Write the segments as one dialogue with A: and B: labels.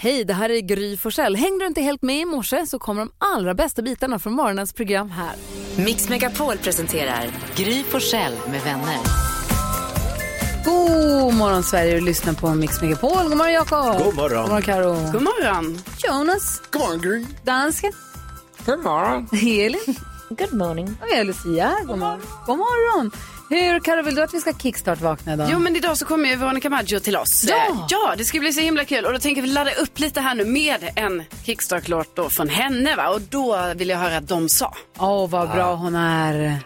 A: Hej, det här är Gry Forssell. Hängde du inte helt med i morse så kommer de allra bästa bitarna från morgonens program här.
B: Mix Megapol presenterar Gry Forssell med vänner.
A: God morgon Sverige, du lyssnar på Mix Megapol. God morgon Jakob.
C: God morgon.
A: God morgon Karo. God
D: morgon.
A: Jonas.
C: God morgon Gry.
A: Dansken.
E: God morgon.
A: Elin.
F: Good morning.
A: Och jag är Lucia. här. God morgon. God morgon. Hur, Karo, vill du att vi ska kickstart-vakna idag?
D: Jo men idag så kommer ju Veronica Maggio till oss.
A: Ja.
D: eh, ja, det ska bli så himla kul. Och då tänker vi ladda upp lite här nu med en kickstart-låt då från henne va. Och då vill jag höra att de sa.
A: Åh, vad bra hon är.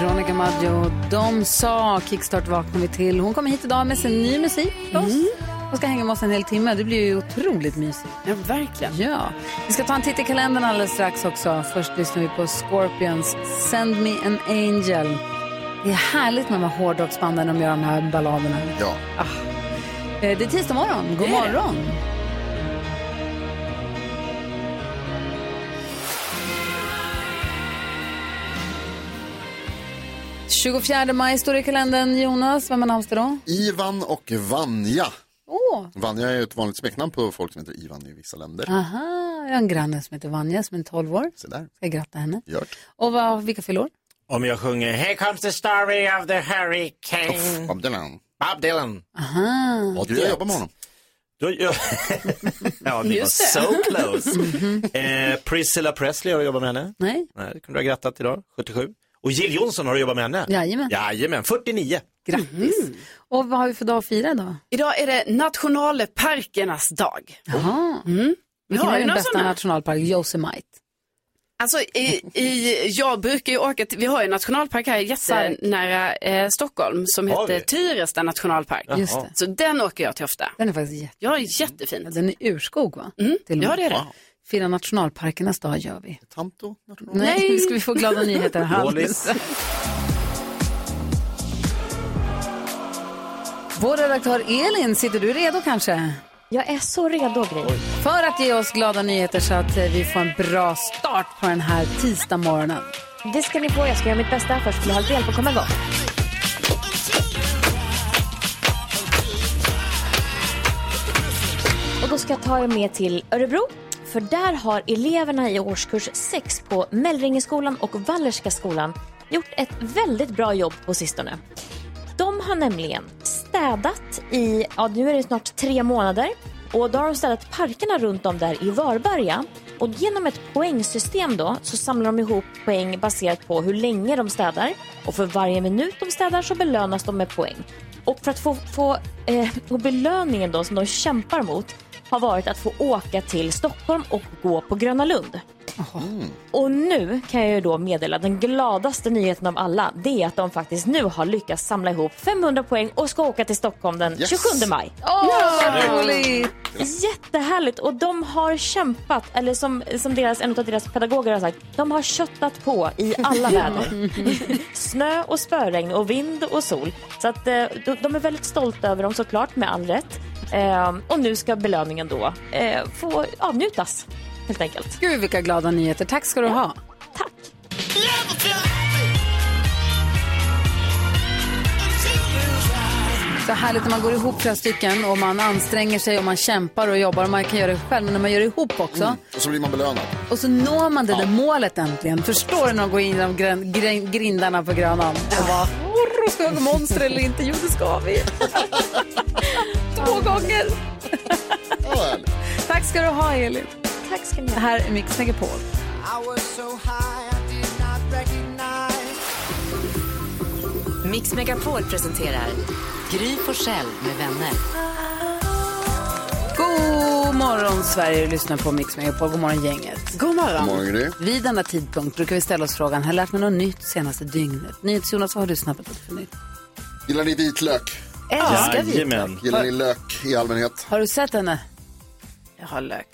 A: Veronica Maggio, de sa kickstart vaknar vi till. Hon kommer hit idag med sin ny musik för oss.
D: Mm.
A: Hon ska hänga med oss en hel timme. Det blir ju otroligt mysigt.
D: Ja, verkligen.
A: Ja. Vi ska ta en titt i kalendern alldeles strax också. Först lyssnar vi på Scorpions Send Me An Angel. Det är härligt när de här hårdrocksbanden de gör de här balladerna.
C: Ja.
A: Eh, Det är tisdag morgon. God morgon. ...24 maj står det i kalendern, Jonas. Vem har namnsdag då?
C: Ivan och Vanja.
A: Åh,
C: Vanja är ett vanligt smeknamn på folk som heter Ivan i vissa länder.
A: Ah. aha. Jag har en granne som heter Vanja som är 12 år.
C: Se där,
A: Ska jag gratta henne.
C: gjort.
A: Och vad, vilka fyller år?
E: Om jag sjunger Here comes the story of the
C: Uff,
E: hurricane.
C: Bob Dylan.
E: Bob Dylan.
A: Aha.
E: Och
C: Du, jag jobbar med honom.
E: Då gör- ja, ni var
D: Just
E: so close. eh, Priscilla Presley har du jobbat med henne.
A: Nej,
E: Nej, det kunde du ha grattat idag, 77. Och Jill Johnson har du jobbat med henne.
A: Jajamän.
E: Jajamän, 49.
A: grattis. Och vad har vi för dag att fira idag?
D: Idag är det nationalparkernas dag. Mm.
A: Jaha. Vilken
D: Ja,
A: är
D: är det
A: den
D: någon
A: bästa
D: sån här?
A: nationalpark? Yosemite.
D: Alltså, i, i, jag brukar ju åka till, vi har ju en nationalpark här jättenära eh, Stockholm som
E: Har
D: heter
E: vi?
D: Tyresta nationalpark.
A: Just det.
D: Så den åker jag till ofta.
A: Den är faktiskt jätte...
D: Ja, jättefint.
A: Den är urskog va?
D: Mm,
A: Till och med.
D: ja, det är det.
A: Fira nationalparkernas dag gör vi.
C: Tanto, national.
A: Nej, nu ska vi få glada nyheter här. alldeles.
E: Dålis.
A: Vår redaktör Elin, sitter du redo kanske?
F: Jag är så redo, Gry.
A: För att ge oss glada nyheter så att eh, vi får en bra start på den här tisdag morgonen.
F: Det ska ni få. Jag ska göra mitt bästa först. Jag har hjälp på att komma igång. Och då ska jag ta er med till Örebro. För där har eleverna i årskurs 6 på Mellringeskolan och Wallerska skolan gjort ett väldigt bra jobb på sistone. De har nämligen städat i, ja nu är det snart tre månader och då har de städat parkerna runt om där i Varberga. Och genom ett poängsystem då så samlar de ihop poäng baserat på hur länge de städar och för varje minut de städar så belönas de med poäng. Och för att få, få eh, och belöningen då som de kämpar mot har varit att få åka till Stockholm och gå på Gröna Lund.
A: Mm.
F: Och nu kan jag ju då meddela den gladaste nyheten av alla. Det är att de faktiskt nu har lyckats samla ihop 500 poäng och ska åka till Stockholm den
C: Yes.
F: 27 maj.
A: Åh, vad roligt!
F: Jättehärligt! Och de har kämpat, eller som, som deras, en av deras pedagoger har sagt, de har köttat på i alla väder.
G: Mm.
F: Snö och spöregn och vind och sol. Så att, eh, de, de är väldigt stolta över dem såklart, med all rätt. Ehm, och nu ska belöningen då eh, få avnjutas, helt enkelt.
A: Gud vilka glada nyheter, tack ska du ha.
F: Tack!
A: Så härligt när man går ihop flera stycken och man anstränger sig och man kämpar och jobbar och man kan göra det själv, men när man gör det ihop också
C: Mm. Och så blir man belönad.
A: och så når man det där målet äntligen. Förstår du när de går in genom grän- grän- grindarna på Grönan och bara "Orr, ska vi ha monster eller inte? Jo, det ska vi. Två gånger. Tack ska du ha, Elin.
F: Tack ska ni
A: Det här är Mix Megapol.
B: Mix Megapol presenterar Gry Forssell med vänner.
A: God morgon, Sverige. Du lyssnar på Mix Megapol. God morgon, gänget. God morgon.
C: God morgon, Gry.
A: Vid denna tidpunkt brukar vi ställa oss frågan, har jag lärt mig något nytt senaste dygnet? NyhetsJonas, vad har du snappat upp för nytt?
C: Gillar ni vitlök?
A: Älskar
E: Jajamän.
C: Gillar ni lök i allmänhet?
A: Har du sett henne? Jag har lök.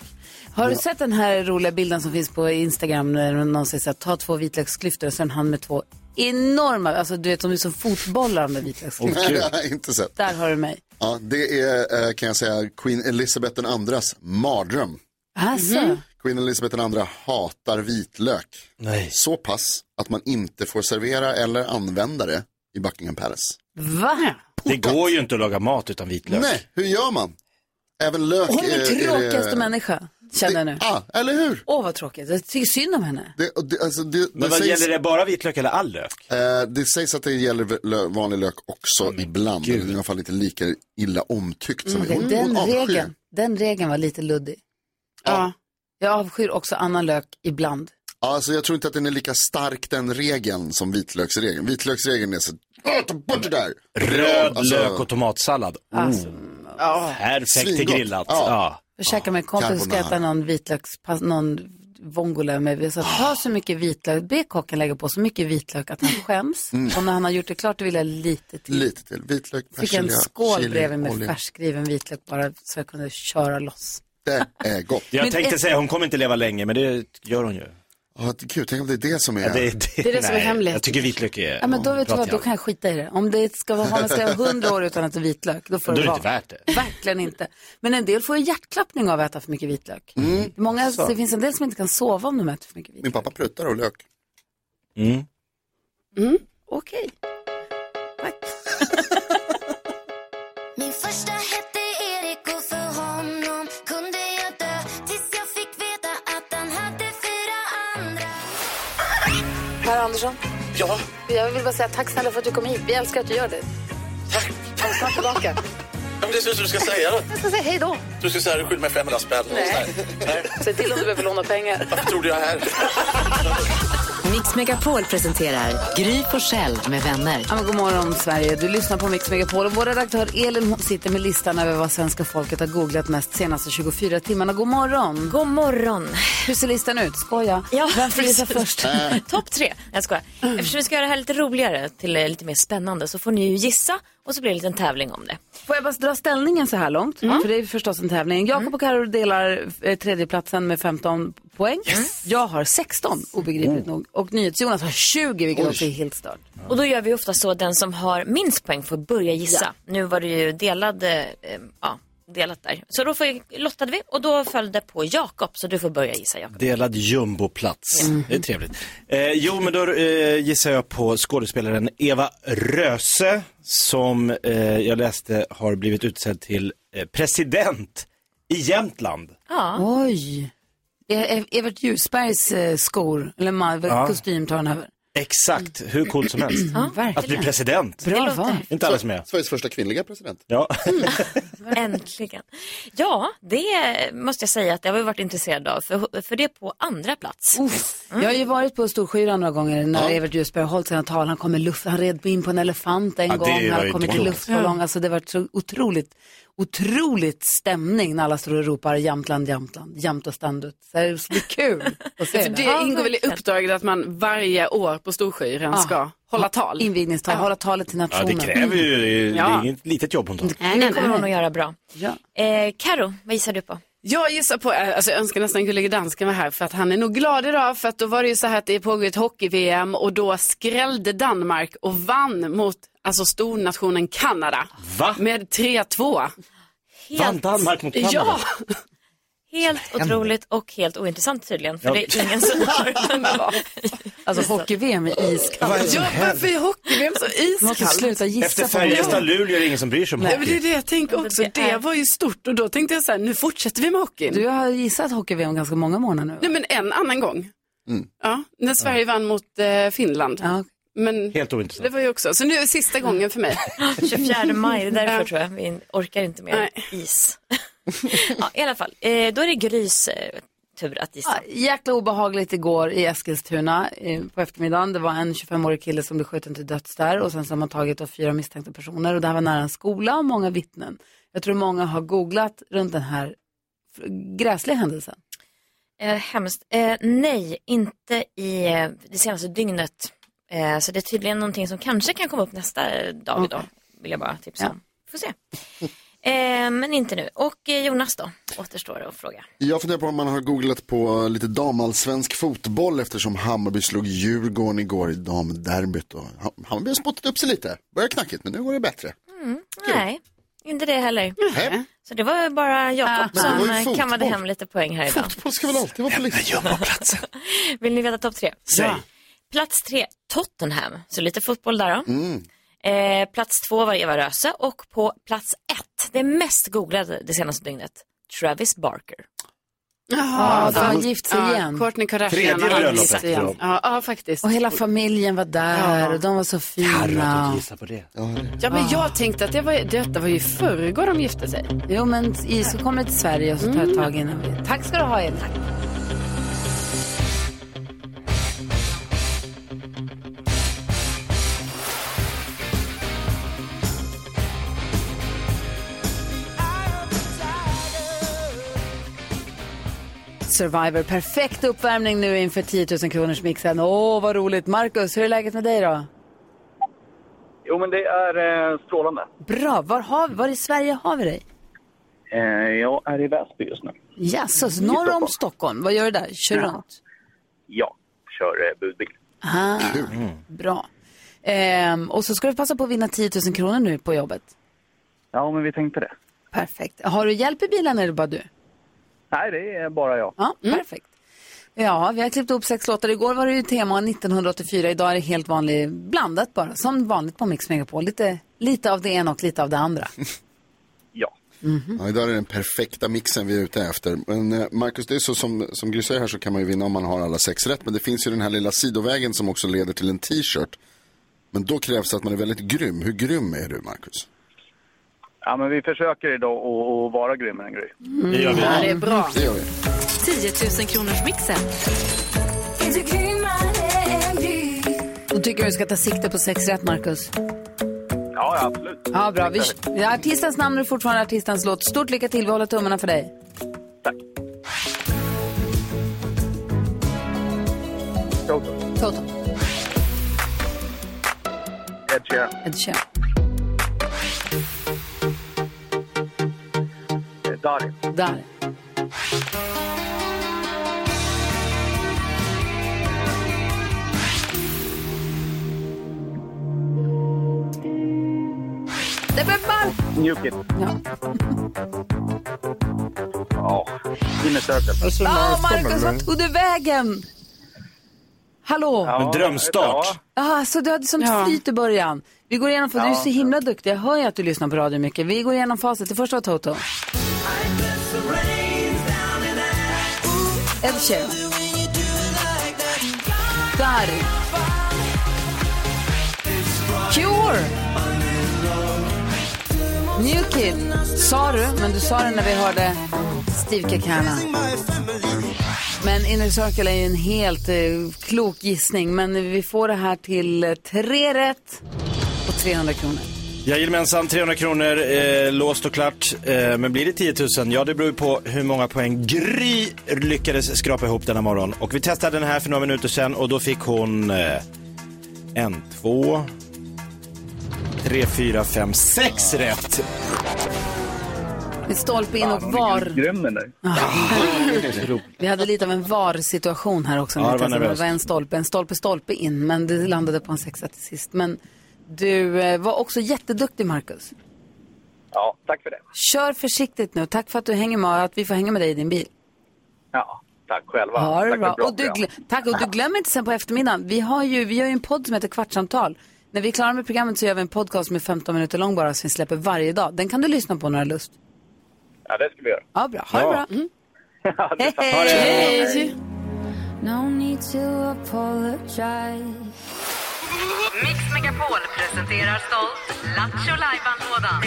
A: Har du sett den här roliga bilden som finns på Instagram när någon säger så här, ta två vitlöksklyftor och sen han med två enorma, alltså du vet de är som fotbollar med vitlöksklyftor.
C: Nej, jag har inte sett.
A: Där har du mig.
C: Ja, det är, eh, kan jag säga, Queen Elizabeth IIs mardröm.
A: Alltså,
C: Queen Elizabeth II hatar vitlök.
E: Nej.
C: Så pass att man inte får servera eller använda det i Buckingham Palace.
A: va?
E: Det går ju inte att laga mat utan vitlök.
C: Nej, hur gör man? Även lök
A: Hon är
C: eh, det-
A: tråkigaste människa, känner jag nu.
C: Ja, eller hur?
A: Åh vad tråkigt, jag tycker synd om henne.
C: Det, och det, alltså det, det,
E: Men vad
C: sägs,
E: gäller det bara vitlök eller all lök?
C: eh, det sägs att det gäller v- lö- vanlig lök också
E: Mm.
C: ibland. Men i alla fall inte lika illa omtyckt som
A: Mm,
C: Mm.
A: Det,
C: hon-
A: den,
C: hon avskyr.
A: regeln, den regeln var lite luddig.
D: Ja.
A: Jag avskyr också annan lök ibland.
C: Ja, Alltså jag tror inte att den är lika stark den regeln som vitlöksregeln. Vitlöksregeln är så, "Åh, ta bort det där!
E: Röd
C: Alltså-
E: lök och tomatsallad. Oh,
A: Alltså,
E: Perfekt till
C: Svingott.
E: grillat.
C: Ja.
E: Ja.
A: Jag käkade med en kompis och ska
C: carbonara.
A: äta någon vitlökspass, någon vongole med, vi
C: Ah.
A: sa ta så mycket vitlök, be kocken lägga på så mycket vitlök att han skäms.
C: Mm.
A: Och när han har gjort det klart, då vill jag lite till.
C: Lite till, vitlök,
A: Fick en
C: persilja,
A: skål
C: chili,
A: bredvid med
C: olja.
A: färskriven vitlök bara så jag kunde köra loss.
C: Det är gott.
E: Jag
A: Men
E: tänkte
A: ett-
E: säga, hon kommer inte leva länge, men det gör hon ju.
C: Ja, gud, tänk om det är det som är...
E: Det, det,
D: är det som är
E: nej,
D: hemligt.
E: Jag tycker vitlök är...
A: Ja, men då vet du
E: Eh, pratar
A: vad, då kan jag skita i det. Om det ska vara, om man ska leva hundra år utan att äta vitlök, då får
E: Då
A: det
E: är det
A: vara.
E: inte värt det.
A: Verkligen inte. Men en del får ju hjärtklappning av att äta för mycket vitlök. Många, det finns en del som inte kan sova om de äter för mycket vitlök.
C: Mm. Min pappa pruttar och lök.
E: Mm.
A: Mm, Okej.
G: Min första hette Erik och för honom kunde jag dö Tills jag fick veta att han hade fyra andra
A: Per Andersson? Ja? Jag vill bara säga tack snälla för att du kom hit. Vi älskar att du gör det. Tack. Kom snart tillbaka.
H: Ja, men det syns du ska säga då.
A: Jag ska säga hej då.
H: Du ska säga du skyller mig 500 spänn. Nej. Nej.
A: Säg till om du behöver låna pengar.
H: Varför trodde jag här?
B: Mix Megapol presenterar Gry Forssell med vänner.
A: Ja, men god morgon, Sverige. Du lyssnar på Mix Megapol. Och vår redaktör Elin hon sitter med listan över vad svenska folket har googlat mest senaste 24 timmarna. God morgon.
F: God morgon.
A: Hur ser listan ut? Skoja.
F: Ja,
A: Vem får gissa
F: precis. Mm.
A: först?
F: Topp tre. Nej, Jag skojar. Eftersom vi ska göra det här lite roligare till eh, lite mer spännande så får ni ju gissa och så blir det en liten tävling om det.
A: Får jag bara dra ställningen så här långt?
F: Mm.
A: För det är förstås en tävling. Jakob och Karo delar eh, tredjeplatsen med 15 poäng. Jag har 16,
F: Mm.
A: obegripligt nog. Och NyhetsJonas har 20, vilket också är helt stört.
F: Och då gör vi ofta så att den som har minst poäng får börja gissa. Nu var det ju delad, eh, eh, ja, delat där. Så då får, ju- lottade vi och då följde på Jakob så du får börja gissa Jakob.
E: Delad jumboplats. Det är
D: Mm.
E: trevligt. Eh, jo, men då eh, gissar jag på skådespelaren Eva Röse som eh, jag läste har blivit utsedd till eh, president i Jämtland.
F: Ja.
A: Oj. E- E- Evert Ljusbergs eh, skor, eller ma-
E: Ja.
A: kostym tar han över.
E: Exakt, hur coolt som helst. Att bli
A: Verkligen.
E: president.
A: Bra
F: låter
A: val.
E: Inte alla som är.
C: Sveriges första kvinnliga president.
E: Ja.
F: Äntligen. Ja, det måste jag säga att jag har ju varit intresserad av för, för det är på andra plats.
A: Uff.
E: Mm.
A: Jag har ju varit på Storskyran några gånger när Evert Ljusberg har hållit sina tal. Han, kom med luft, han red in på en elefant en
E: Ja, det
A: gång,
E: var
A: han
E: ju
A: kom i
E: klokt.
A: luftballong. Alltså, det var så otroligt, otroligt stämning när alla står och ropar Jämtland, Jämtland, jämt och standut. Så det blir kul att se
D: Alltså, Det
A: det.
D: ingår väl i uppdraget att man varje år på Storskyran ska hålla tal.
A: Invigningstal, hålla talet till
E: ja, det
A: nationen. Mm.
E: kräver ju, det
D: Ja.
E: är inget litet jobb hon tar.
F: Det kommer hon att göra bra.
A: Ja.
F: Eh, Karo, vad gissar du på?
D: Jag gissar på, alltså jag önskar nästan Gullige Dansken var här för att han är nog glad idag för att då var det ju så här att det pågår ett hockey-VM och då skrällde Danmark och vann mot alltså stornationen Kanada
E: Va?
D: med 3-2.
E: Vann Danmark mot Kanada?
D: Ja,
F: Helt otroligt och helt ointressant tydligen, för
E: Ja.
F: det är ingen som har...
A: Alltså hockey-VM är iskallt.
E: Vad är det som
D: Ja, varför
E: händer?
D: är hockey-VM så
A: Man måste
D: iskallt?
A: sluta gissa
E: Efter
A: på hockey.
E: Färjestad Luleå är det ingen som bryr sig om
D: Nej, men det är
E: hockey.
D: det jag tänker också.
F: Det är-
D: Det var ju stort och då tänkte jag så här, nu fortsätter vi med hockeyn.
A: Du har gissat hockey-VM ganska många månader nu.
D: Nej, men en annan gång.
E: Mm.
D: Ja, när Sverige vann mot eh, Finland.
A: Ja.
D: Men
E: Helt
D: det
E: ointressant.
D: var ju också, så nu är det sista gången för mig.
F: 24 maj, det är därför
D: Ja.
F: tror jag vi orkar inte mer
D: Nej.
F: is. ja, I alla fall, eh, då är det Grys eh, tur att gissa.
A: Ja, jäkla obehagligt igår i Eskilstuna eh, på eftermiddagen. Det var en 25-årig kille som blev skjuten till döds där och sen så har man tagit då fyra misstänkta personer och det här var nära en skola och många vittnen. Jag tror många har googlat runt den här f- gräsliga händelsen.
F: Eh, hemskt. Eh, nej, inte i eh, det senaste dygnet. Eh, så det är tydligen någonting som kanske kan komma upp nästa eh, dag idag. Vill jag bara tipsa om. Får se. Eh, men inte nu. Och eh, Jonas då, återstår det att fråga.
C: Jag funderar på om man har googlat på eh, lite damallsvensk fotboll eftersom Hammarby slog Djurgården igår i damderbyt. Och Ham- Hammarby har spottat upp sig lite. Börjar knackigt, men nu går det bättre.
F: Mm, Nej, inte det heller.
C: Hej.
F: Så det var bara Jakob
C: Ah. Men det var
F: som
C: ju
F: eh,
C: fotboll.
F: kammade hem lite poäng här idag.
C: Fotboll ska väl alltid vara på listan.
F: Vill ni veta topp tre?
E: Säg.
F: Plats tre, Tottenham. Så lite fotboll där då.
A: Mm.
F: Eh, plats två var Eva Röse och på plats ett, det mest googlade det senaste dygnet, Travis Barker.
A: Ja, de har gift sig igen.
D: Courtney Kardashian
E: Tredje
D: har
E: bröllopet,
D: gift sig
E: tror
D: igen.
E: jag.
D: Ja, ja, faktiskt.
A: Och hela familjen var där och de var så
E: Harry att
A: fina.
E: du gissar på det.
D: Ja,
A: Ah.
D: men jag tänkte att det var, detta var ju i förrgår de gifte sig. Mm.
A: Jo, men i, så kommer det till Sverige och så tar det ett tag innan vi... Tack ska du ha, Elin. Survivor, perfekt uppvärmning nu inför 10 000 kronors mixen. Åh, vad roligt. Marcus, hur är läget med dig då?
I: Jo, men det är eh, strålande.
A: Bra, var, har, vi- var i Sverige har vi dig?
I: Eh, jag är i Väsby just nu.
A: Jaså, norr om Stockholm. Vad gör du där? Kör runt?
I: Ja, kör eh, budbil.
A: Aha, bra. Ehm, och så ska du passa på att vinna 10 000 kronor nu på jobbet.
I: Ja, men vi tänkte det.
A: Perfekt. Har du hjälp i bilen eller bara du?
I: Nej, det är bara jag.
A: Ja, mm. perfekt. Ja, vi har klippt ihop sex låtar. Igår var det ju tema 1984. Idag är det helt vanlig, blandat bara. Som vanligt på Mix Megapol. Lite, lite av det ena och lite av det andra.
I: Ja.
C: Mhm. Ja, idag är det den perfekta mixen vi är ute efter. Men eh, Marcus, det är så som, som Gry säger här så kan man ju vinna om man har alla sex rätt. Men det finns ju den här lilla sidovägen som också leder till en t-shirt. Men då krävs det att man är väldigt grym. Hur grym är du, Marcus?
I: ja, men vi försöker idag att, att vara grymmare än Gry.
E: Det gör vi.
D: Mm. Ja, det är bra.
A: Mm.
C: Det gör vi.
B: 10 000 kronors mixen.
G: Är du grymmare än Gry?
A: Då tycker jag du ska ta sikte på sex rätt, Marcus.
I: Ja, ja, absolut.
A: Ja, bra. Vi, artistens namn är fortfarande artistens låt. Stort lycka till. Vi håller tummarna för dig.
I: Tack. Toto,
A: Toto.
I: Ed Sheeran,
A: Ed Sheeran.
I: eh, Darin,
A: Där. Det blev ball!
I: New Kid.
A: Ja.
I: Ja, Inner Circle.
A: Ja, Marcus, vart tog du vägen? Hallå? Ja.
E: En drömstart.
I: Ja,
A: så du hade sånt
D: Ja.
A: flyt i början. Vi går igenom, för du är så himla duktig. Jag hör ju att du lyssnar på radio mycket. Vi går igenom facit. Det första var Toto. Ed Sheeran. Dari. Cure. New Kid. Sa du, men du sa det när vi hörde Steve Kekana. Men Inner Circle är ju en helt eh, klok gissning. Men vi får det här till eh, tre rätt och 300 kronor.
E: Jajamensan, 300 kronor eh, låst och klart. Eh, men blir det 10 000? Ja, det beror ju på hur många poäng Gry lyckades skrapa ihop denna morgon. Och vi testade den här för några minuter sedan och då fick hon eh, en, två, tre, fyra, fem, sex rätt.
A: Med stolpe in och
I: Hon är
A: var.
I: grym den där.
A: Vi hade lite av en VAR-situation här också.
E: Ja,
A: när vi
E: det var
A: testade. det
E: nervöst.
A: var en stolpe, en stolpe, stolpe in. Men det landade på en sexa till sist. Men du eh, var också jätteduktig, Marcus.
I: Ja, tack för det.
A: Kör försiktigt nu. Tack för att du hänger med, att vi får hänga med dig i din bil.
I: Ja, tack själva.
A: Ja, det är
I: tack
A: bra.
I: ett bra
A: Och du,
I: program.
A: glö- tack, och du glöm inte sen på eftermiddagen. Vi, har ju, vi gör ju en podd som heter Kvartsamtal. När vi är klara med programmet så gör vi en podcast som är 15 minuter lång bara, som vi släpper varje dag. Den kan du lyssna på när du har lust.
I: Ja, det ska vi göra.
A: Ja, bra. Ha det
E: Ja.
A: bra. Mm. Hej,
E: Ha det.
A: hej.
D: No need to apologize.
B: Mix Megapol presenterar stolt Lattjo Lajban-lådan.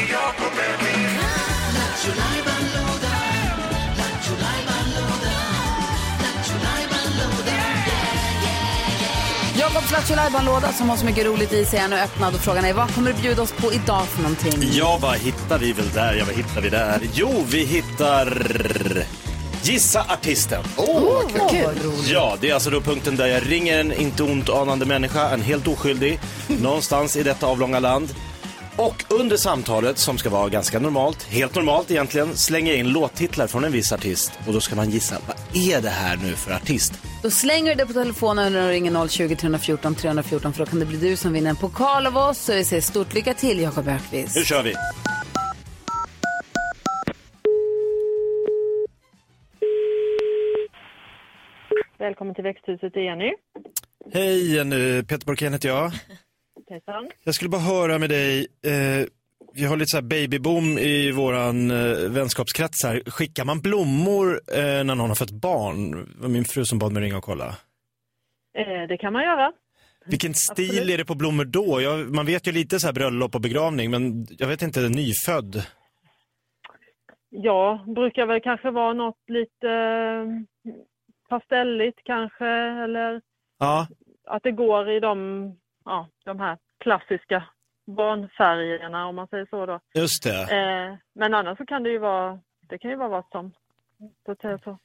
A: Jakob Flatio låda som har så mycket roligt i sig är nu öppnad och frågan är vad kommer du bjuda oss på idag för någonting?
E: Ja, vad hittar vi väl där? Ja, vad hittar vi där? Jo, vi hittar... Gissa artisten.
J: Åh, vad kul.
A: Åh, vad roligt.
E: Ja, det är alltså då punkten där jag ringer en inte ont anande människa, en helt oskyldig, någonstans i detta avlånga land. Och under samtalet, som ska vara ganska normalt, helt normalt egentligen, slänger jag in låttitlar från en viss artist. Och då ska man gissa, vad är det här nu för artist?
A: Då slänger du det på telefonen när du ringer 020 314 314 för då kan det bli du som vinner en pokal av oss. Så vi säger stort lycka till Jakob Ökvist.
E: Nu kör vi!
K: Välkommen till växthuset, det är Jenny.
E: Hej Jenny, Peter Borkén heter jag.
K: Hejsan.
E: Jag skulle bara höra med dig, eh, vi har lite så här babyboom i våran eh, vänskapskrets här. Skickar man blommor eh, när någon har fått barn? Det var min fru som bad mig ringa och kolla.
K: Eh, det kan man göra.
E: Vilken stil är det på blommor då? Jag, man vet ju lite så här bröllop och begravning, men jag vet inte, nyfödd.
K: Ja, brukar väl kanske vara något lite eh, pastelligt kanske, eller
E: Ja,
K: att det går i de, ja, de här klassiska barnfärgerna om man säger så då.
E: just det.
K: Eh, men annars så kan det ju vara, det kan ju vara vad som. Så att säga så.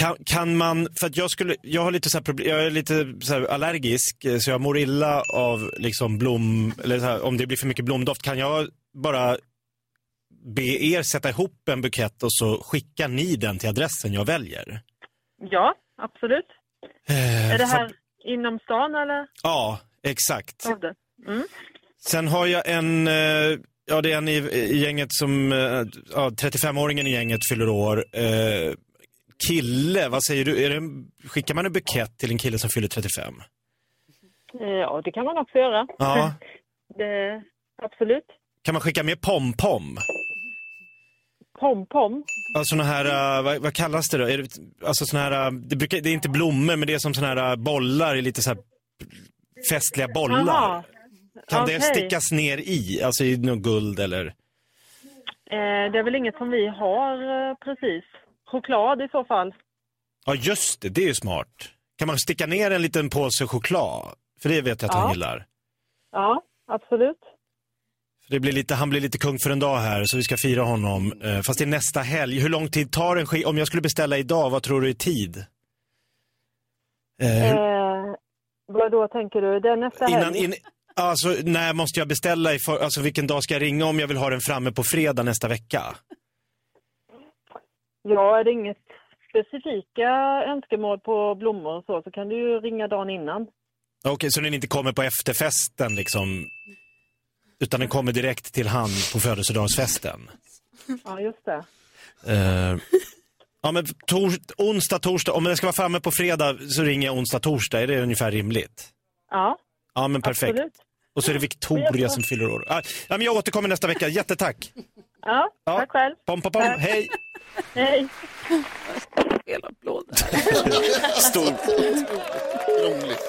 E: Kan, kan man, för att jag skulle, jag har lite så här problem, jag är lite så här allergisk, eh, så jag mår illa av liksom blom, eller så här, om det blir för mycket blomdoft. Kan jag bara be er sätta ihop en bukett och så skickar ni den till adressen jag väljer?
K: Ja, absolut.
E: Eh,
K: Är det
E: för-
K: här inom stan eller?
E: Ja, exakt.
K: Skövde? Mm.
E: Sen har jag en, eh, ja det är en i, i gänget som, eh, ja 35-åringen i gänget fyller år. Eh, kille, vad säger du? Är det, en- skickar man en bukett till en kille som fyller 35?
K: Eh, ja, det kan man också göra.
E: Ja.
K: Det, absolut.
E: Kan man skicka med pom-pom?
K: Pom-pom.
E: Ja, såna här, eh, vad, vad kallas det då? Är det, alltså såna här, eh, det, brukar, det är inte blommor men det är som såna här eh, bollar, i lite så här festliga bollar.
K: Jaha.
E: Kan det
K: okej.
E: stickas ner i? Alltså i något guld eller?
K: Eh, det är väl inget som vi har eh, precis. Choklad i så fall.
E: Ja, just det. Det är ju smart. Kan man sticka ner en liten påse choklad? För det vet jag att han
K: Ja.
E: gillar.
K: Ja, absolut.
E: För det blir lite, han blir lite kung för en dag här, så vi ska fira honom. Eh, fast det är nästa helg. Hur lång tid tar en sk- Om jag skulle beställa idag, vad tror du är tid? Eh, hur-
K: Eh, vad då tänker du? Det är nästa
E: innan,
K: helg?
E: in, alltså, när måste jag beställa? I för, alltså, vilken dag ska jag ringa om jag vill ha den framme på fredag nästa vecka?
K: Ja, är det inget specifika önskemål på blommor och så, så kan du ju ringa dagen innan.
E: Okej, så den inte kommer på efterfesten liksom? Utan den kommer direkt till han på födelsedagsfesten?
K: Ja, just det.
E: Eh, ja, men tor- onsdag, torsdag. Om jag ska vara framme på fredag så ringer jag onsdag, torsdag. Är det ungefär rimligt?
K: Ja,
E: Ja, men perfekt.
K: absolut.
E: Och så är det Victoria som fyller år. Ah, ja, men jag återkommer nästa vecka. Jättetack.
K: Ja,
E: Ja.
K: tack själv.
E: Pom, pom, pom. Hej.
K: Hej.
E: Stor.
J: Krångligt.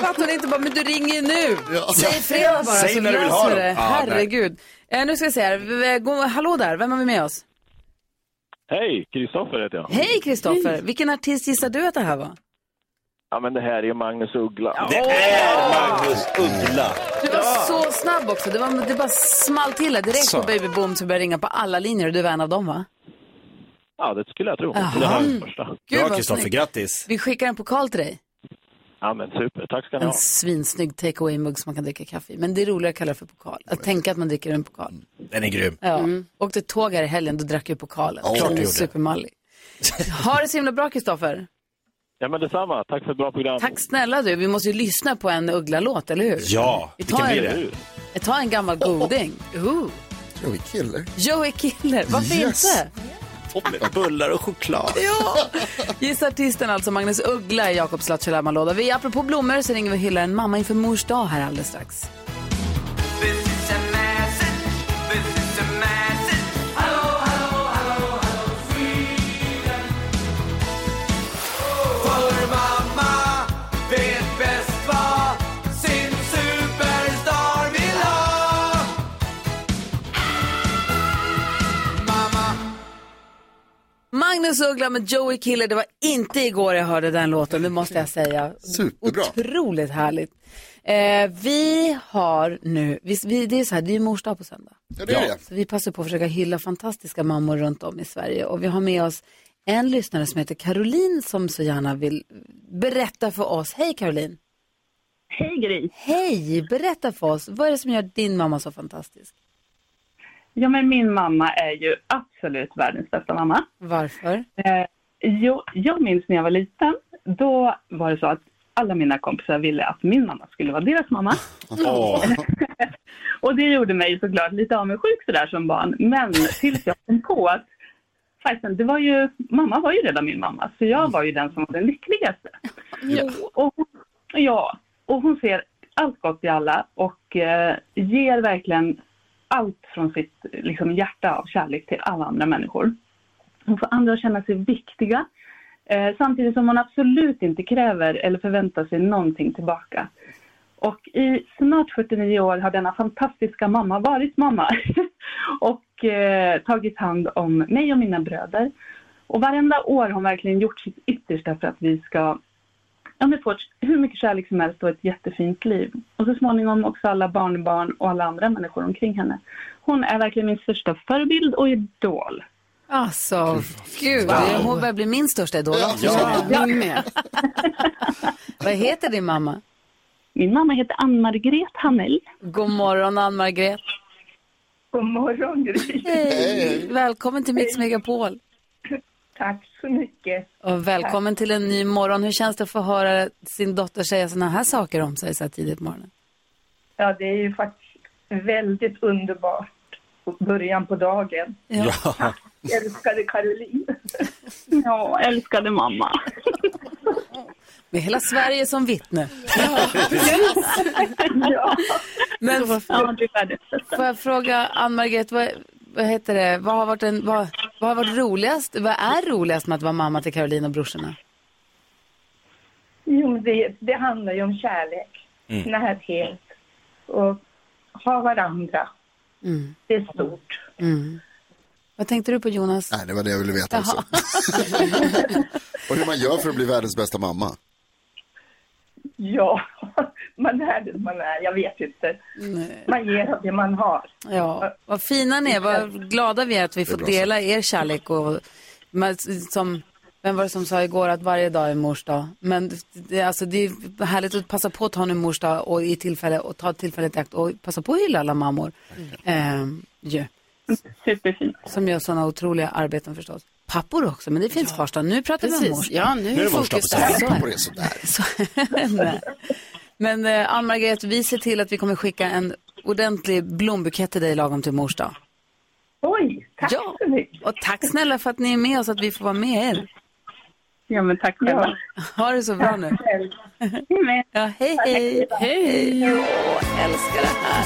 A: Fattar ni inte bara, men du ringer ju nu!
J: Ja.
A: Säg fredag bara
E: Säg
A: så
E: när du vill
A: löser
E: ha
A: vi
E: dem.
A: det.
E: Ja, nej.
A: Herregud. Eh, nu ska vi se här, V- gå- hallå där, vem har vi med oss?
I: Hej, Kristoffer heter jag.
A: Hej Kristoffer, vilken artist gissar du att det här var?
I: Ja, men det här är ju Magnus Uggla.
E: Det är Magnus Uggla.
A: Du var så snabb också, det, var, det bara small till här. direkt
E: Så.
A: på Baby Boom så började ringa på alla linjer och du var en av dem va?
I: Ja, det skulle jag tro.
A: Jaha.
I: Det var den första.
A: Gud
E: Bra
A: vad
E: Kristoffer,
A: snyggt.
E: grattis.
A: Vi skickar en pokal till dig.
I: Ja, men super. Tack ska ni
A: En
I: ha.
A: svinsnygg take away-mugg som man kan dricka kaffe i. Men det är roligare att kalla det för pokal. Att tänka att man dricker en pokal.
E: Mm. Den är grym.
A: Ja. Åkte tåg här i helgen, då drack jag pokalen.
J: Ja, klart du
A: Den är
E: gjorde.
A: Supermallig. Ha det så himla bra Kristoffer.
I: Ja, men detsamma. Tack för ett bra program.
A: Tack snälla du. Vi måste ju lyssna på en Uggla-låt, eller hur?
E: Ja,
A: Vi
E: vilken
A: tar
E: blir
A: en,
E: det?
A: vi tar en gammal goding. Ooh.
J: Jag är kille.
A: Joey Killer, varför
J: Yes.
A: inte?
E: med bullar och choklad.
A: Ja! Gissa artisten alltså, Magnus Uggla i Jakobs Lattjo Vi Apropå blommor så ringer vi och hyllar en mamma inför mors dag här alldeles strax. Magnus Uggla med Joey Killer, det var inte igår jag hörde den låten, det måste jag säga.
C: Superbra.
A: Otroligt härligt. Eh, vi har nu, vi, vi, det är så här, det är ju mors dag på söndag.
C: Ja, det är det.
A: Så vi passar på att försöka hylla fantastiska mammor runt om i Sverige. Och vi har med oss en lyssnare som heter Caroline som så gärna vill berätta för oss. Hej Caroline!
L: Hej Gry!
A: Hej! Berätta för oss, vad är det som gör din mamma så fantastisk?
L: Ja, men min mamma är ju absolut världens bästa mamma.
A: Varför?
L: Eh, jo, jag minns när jag var liten. Då var det så att alla mina kompisar ville att min mamma skulle vara deras mamma.
E: Åh.
L: Och det gjorde mig såklart lite avundsjuk sådär som barn. Men tills jag kom på att fasen, det var ju, mamma var ju redan min mamma. Så jag var ju den som var den lyckligaste. Och hon, ja, och hon ser allt gott i alla och eh, ger verkligen allt från sitt liksom, hjärta av kärlek till alla andra människor. Hon får andra att känna sig viktiga. Eh, samtidigt som hon absolut inte kräver eller förväntar sig någonting tillbaka. Och i snart 79 år har denna fantastiska mamma varit mamma och eh, tagit hand om mig och mina bröder. Och varenda år har hon verkligen gjort sitt yttersta för att vi ska ja, men få ett, hur mycket kärlek som helst och ett jättefint liv. Och så småningom också alla barnbarn och alla andra människor omkring henne. Hon är verkligen min största förebild och idol.
A: Alltså, gud, hon börjar bli min största idol också.
C: Ja.
A: Jag med. Vad heter din mamma?
L: Min mamma heter Ann-Margret Hanell.
A: God morgon, Ann-Margret.
L: God morgon, Gry.
A: Hej. Välkommen till Mix Megapol.
L: Tack så mycket.
A: Och välkommen till en ny morgon. Hur känns det att få höra sin dotter säga sådana här saker om sig så här tidigt på morgonen?
L: Ja, det är ju faktiskt väldigt underbart. Början på dagen.
E: Ja.
L: Älskade Caroline. ja, älskade mamma.
A: Med hela Sverige som vittne.
L: ja.
A: Men
L: ja, det är det.
A: får jag fråga Ann-Margret, vad, vad heter det, vad har varit, en, vad, vad har varit roligast, vad är roligast med att vara mamma till Caroline och brorsorna?
L: Jo, men det, det handlar ju om kärlek,
E: Mm.
L: närhet och ha varandra. Det är stort.
A: Mm. Vad tänkte du alltså. på Jonas?
C: Nej, det var det jag ville veta också. och hur man gör för att bli världens bästa mamma.
L: Ja, man är det man är. Jag vet inte.
A: Nej.
L: Man ger det man har.
A: Ja, vad fina ni är, vad glada vi är att vi får dela er kärlek och men som, vem var det som sa igår att varje dag är mors dag? Men det, alltså, det är härligt att passa på att ta nu mors dag och i tillfälle och ta tillfället i akt och passa på att hylla alla mammor. Ehm, ju,
L: Superfint.
A: som gör sådana otroliga arbeten förstås. Pappor också, men det finns fars dag. Nu pratar vi om mors
D: Precis. Ja, nu
E: Nu är
D: är
E: det vår
D: fokus
E: start på
D: där.
A: Så är
C: På
A: det.
C: det sådär.
A: Så, nej. Men eh, Ann-Margret, vi ser till att vi kommer skicka en ordentlig blombukett till dig lagom till mors dag.
L: Oj, tack
A: Ja.
L: så mycket.
A: Och tack snälla för att ni är med oss, att vi får vara med er.
L: Ja, men tack själva.
A: Ha det så bra nu. Ja, hej, hej. Hej. Jag älskar det här.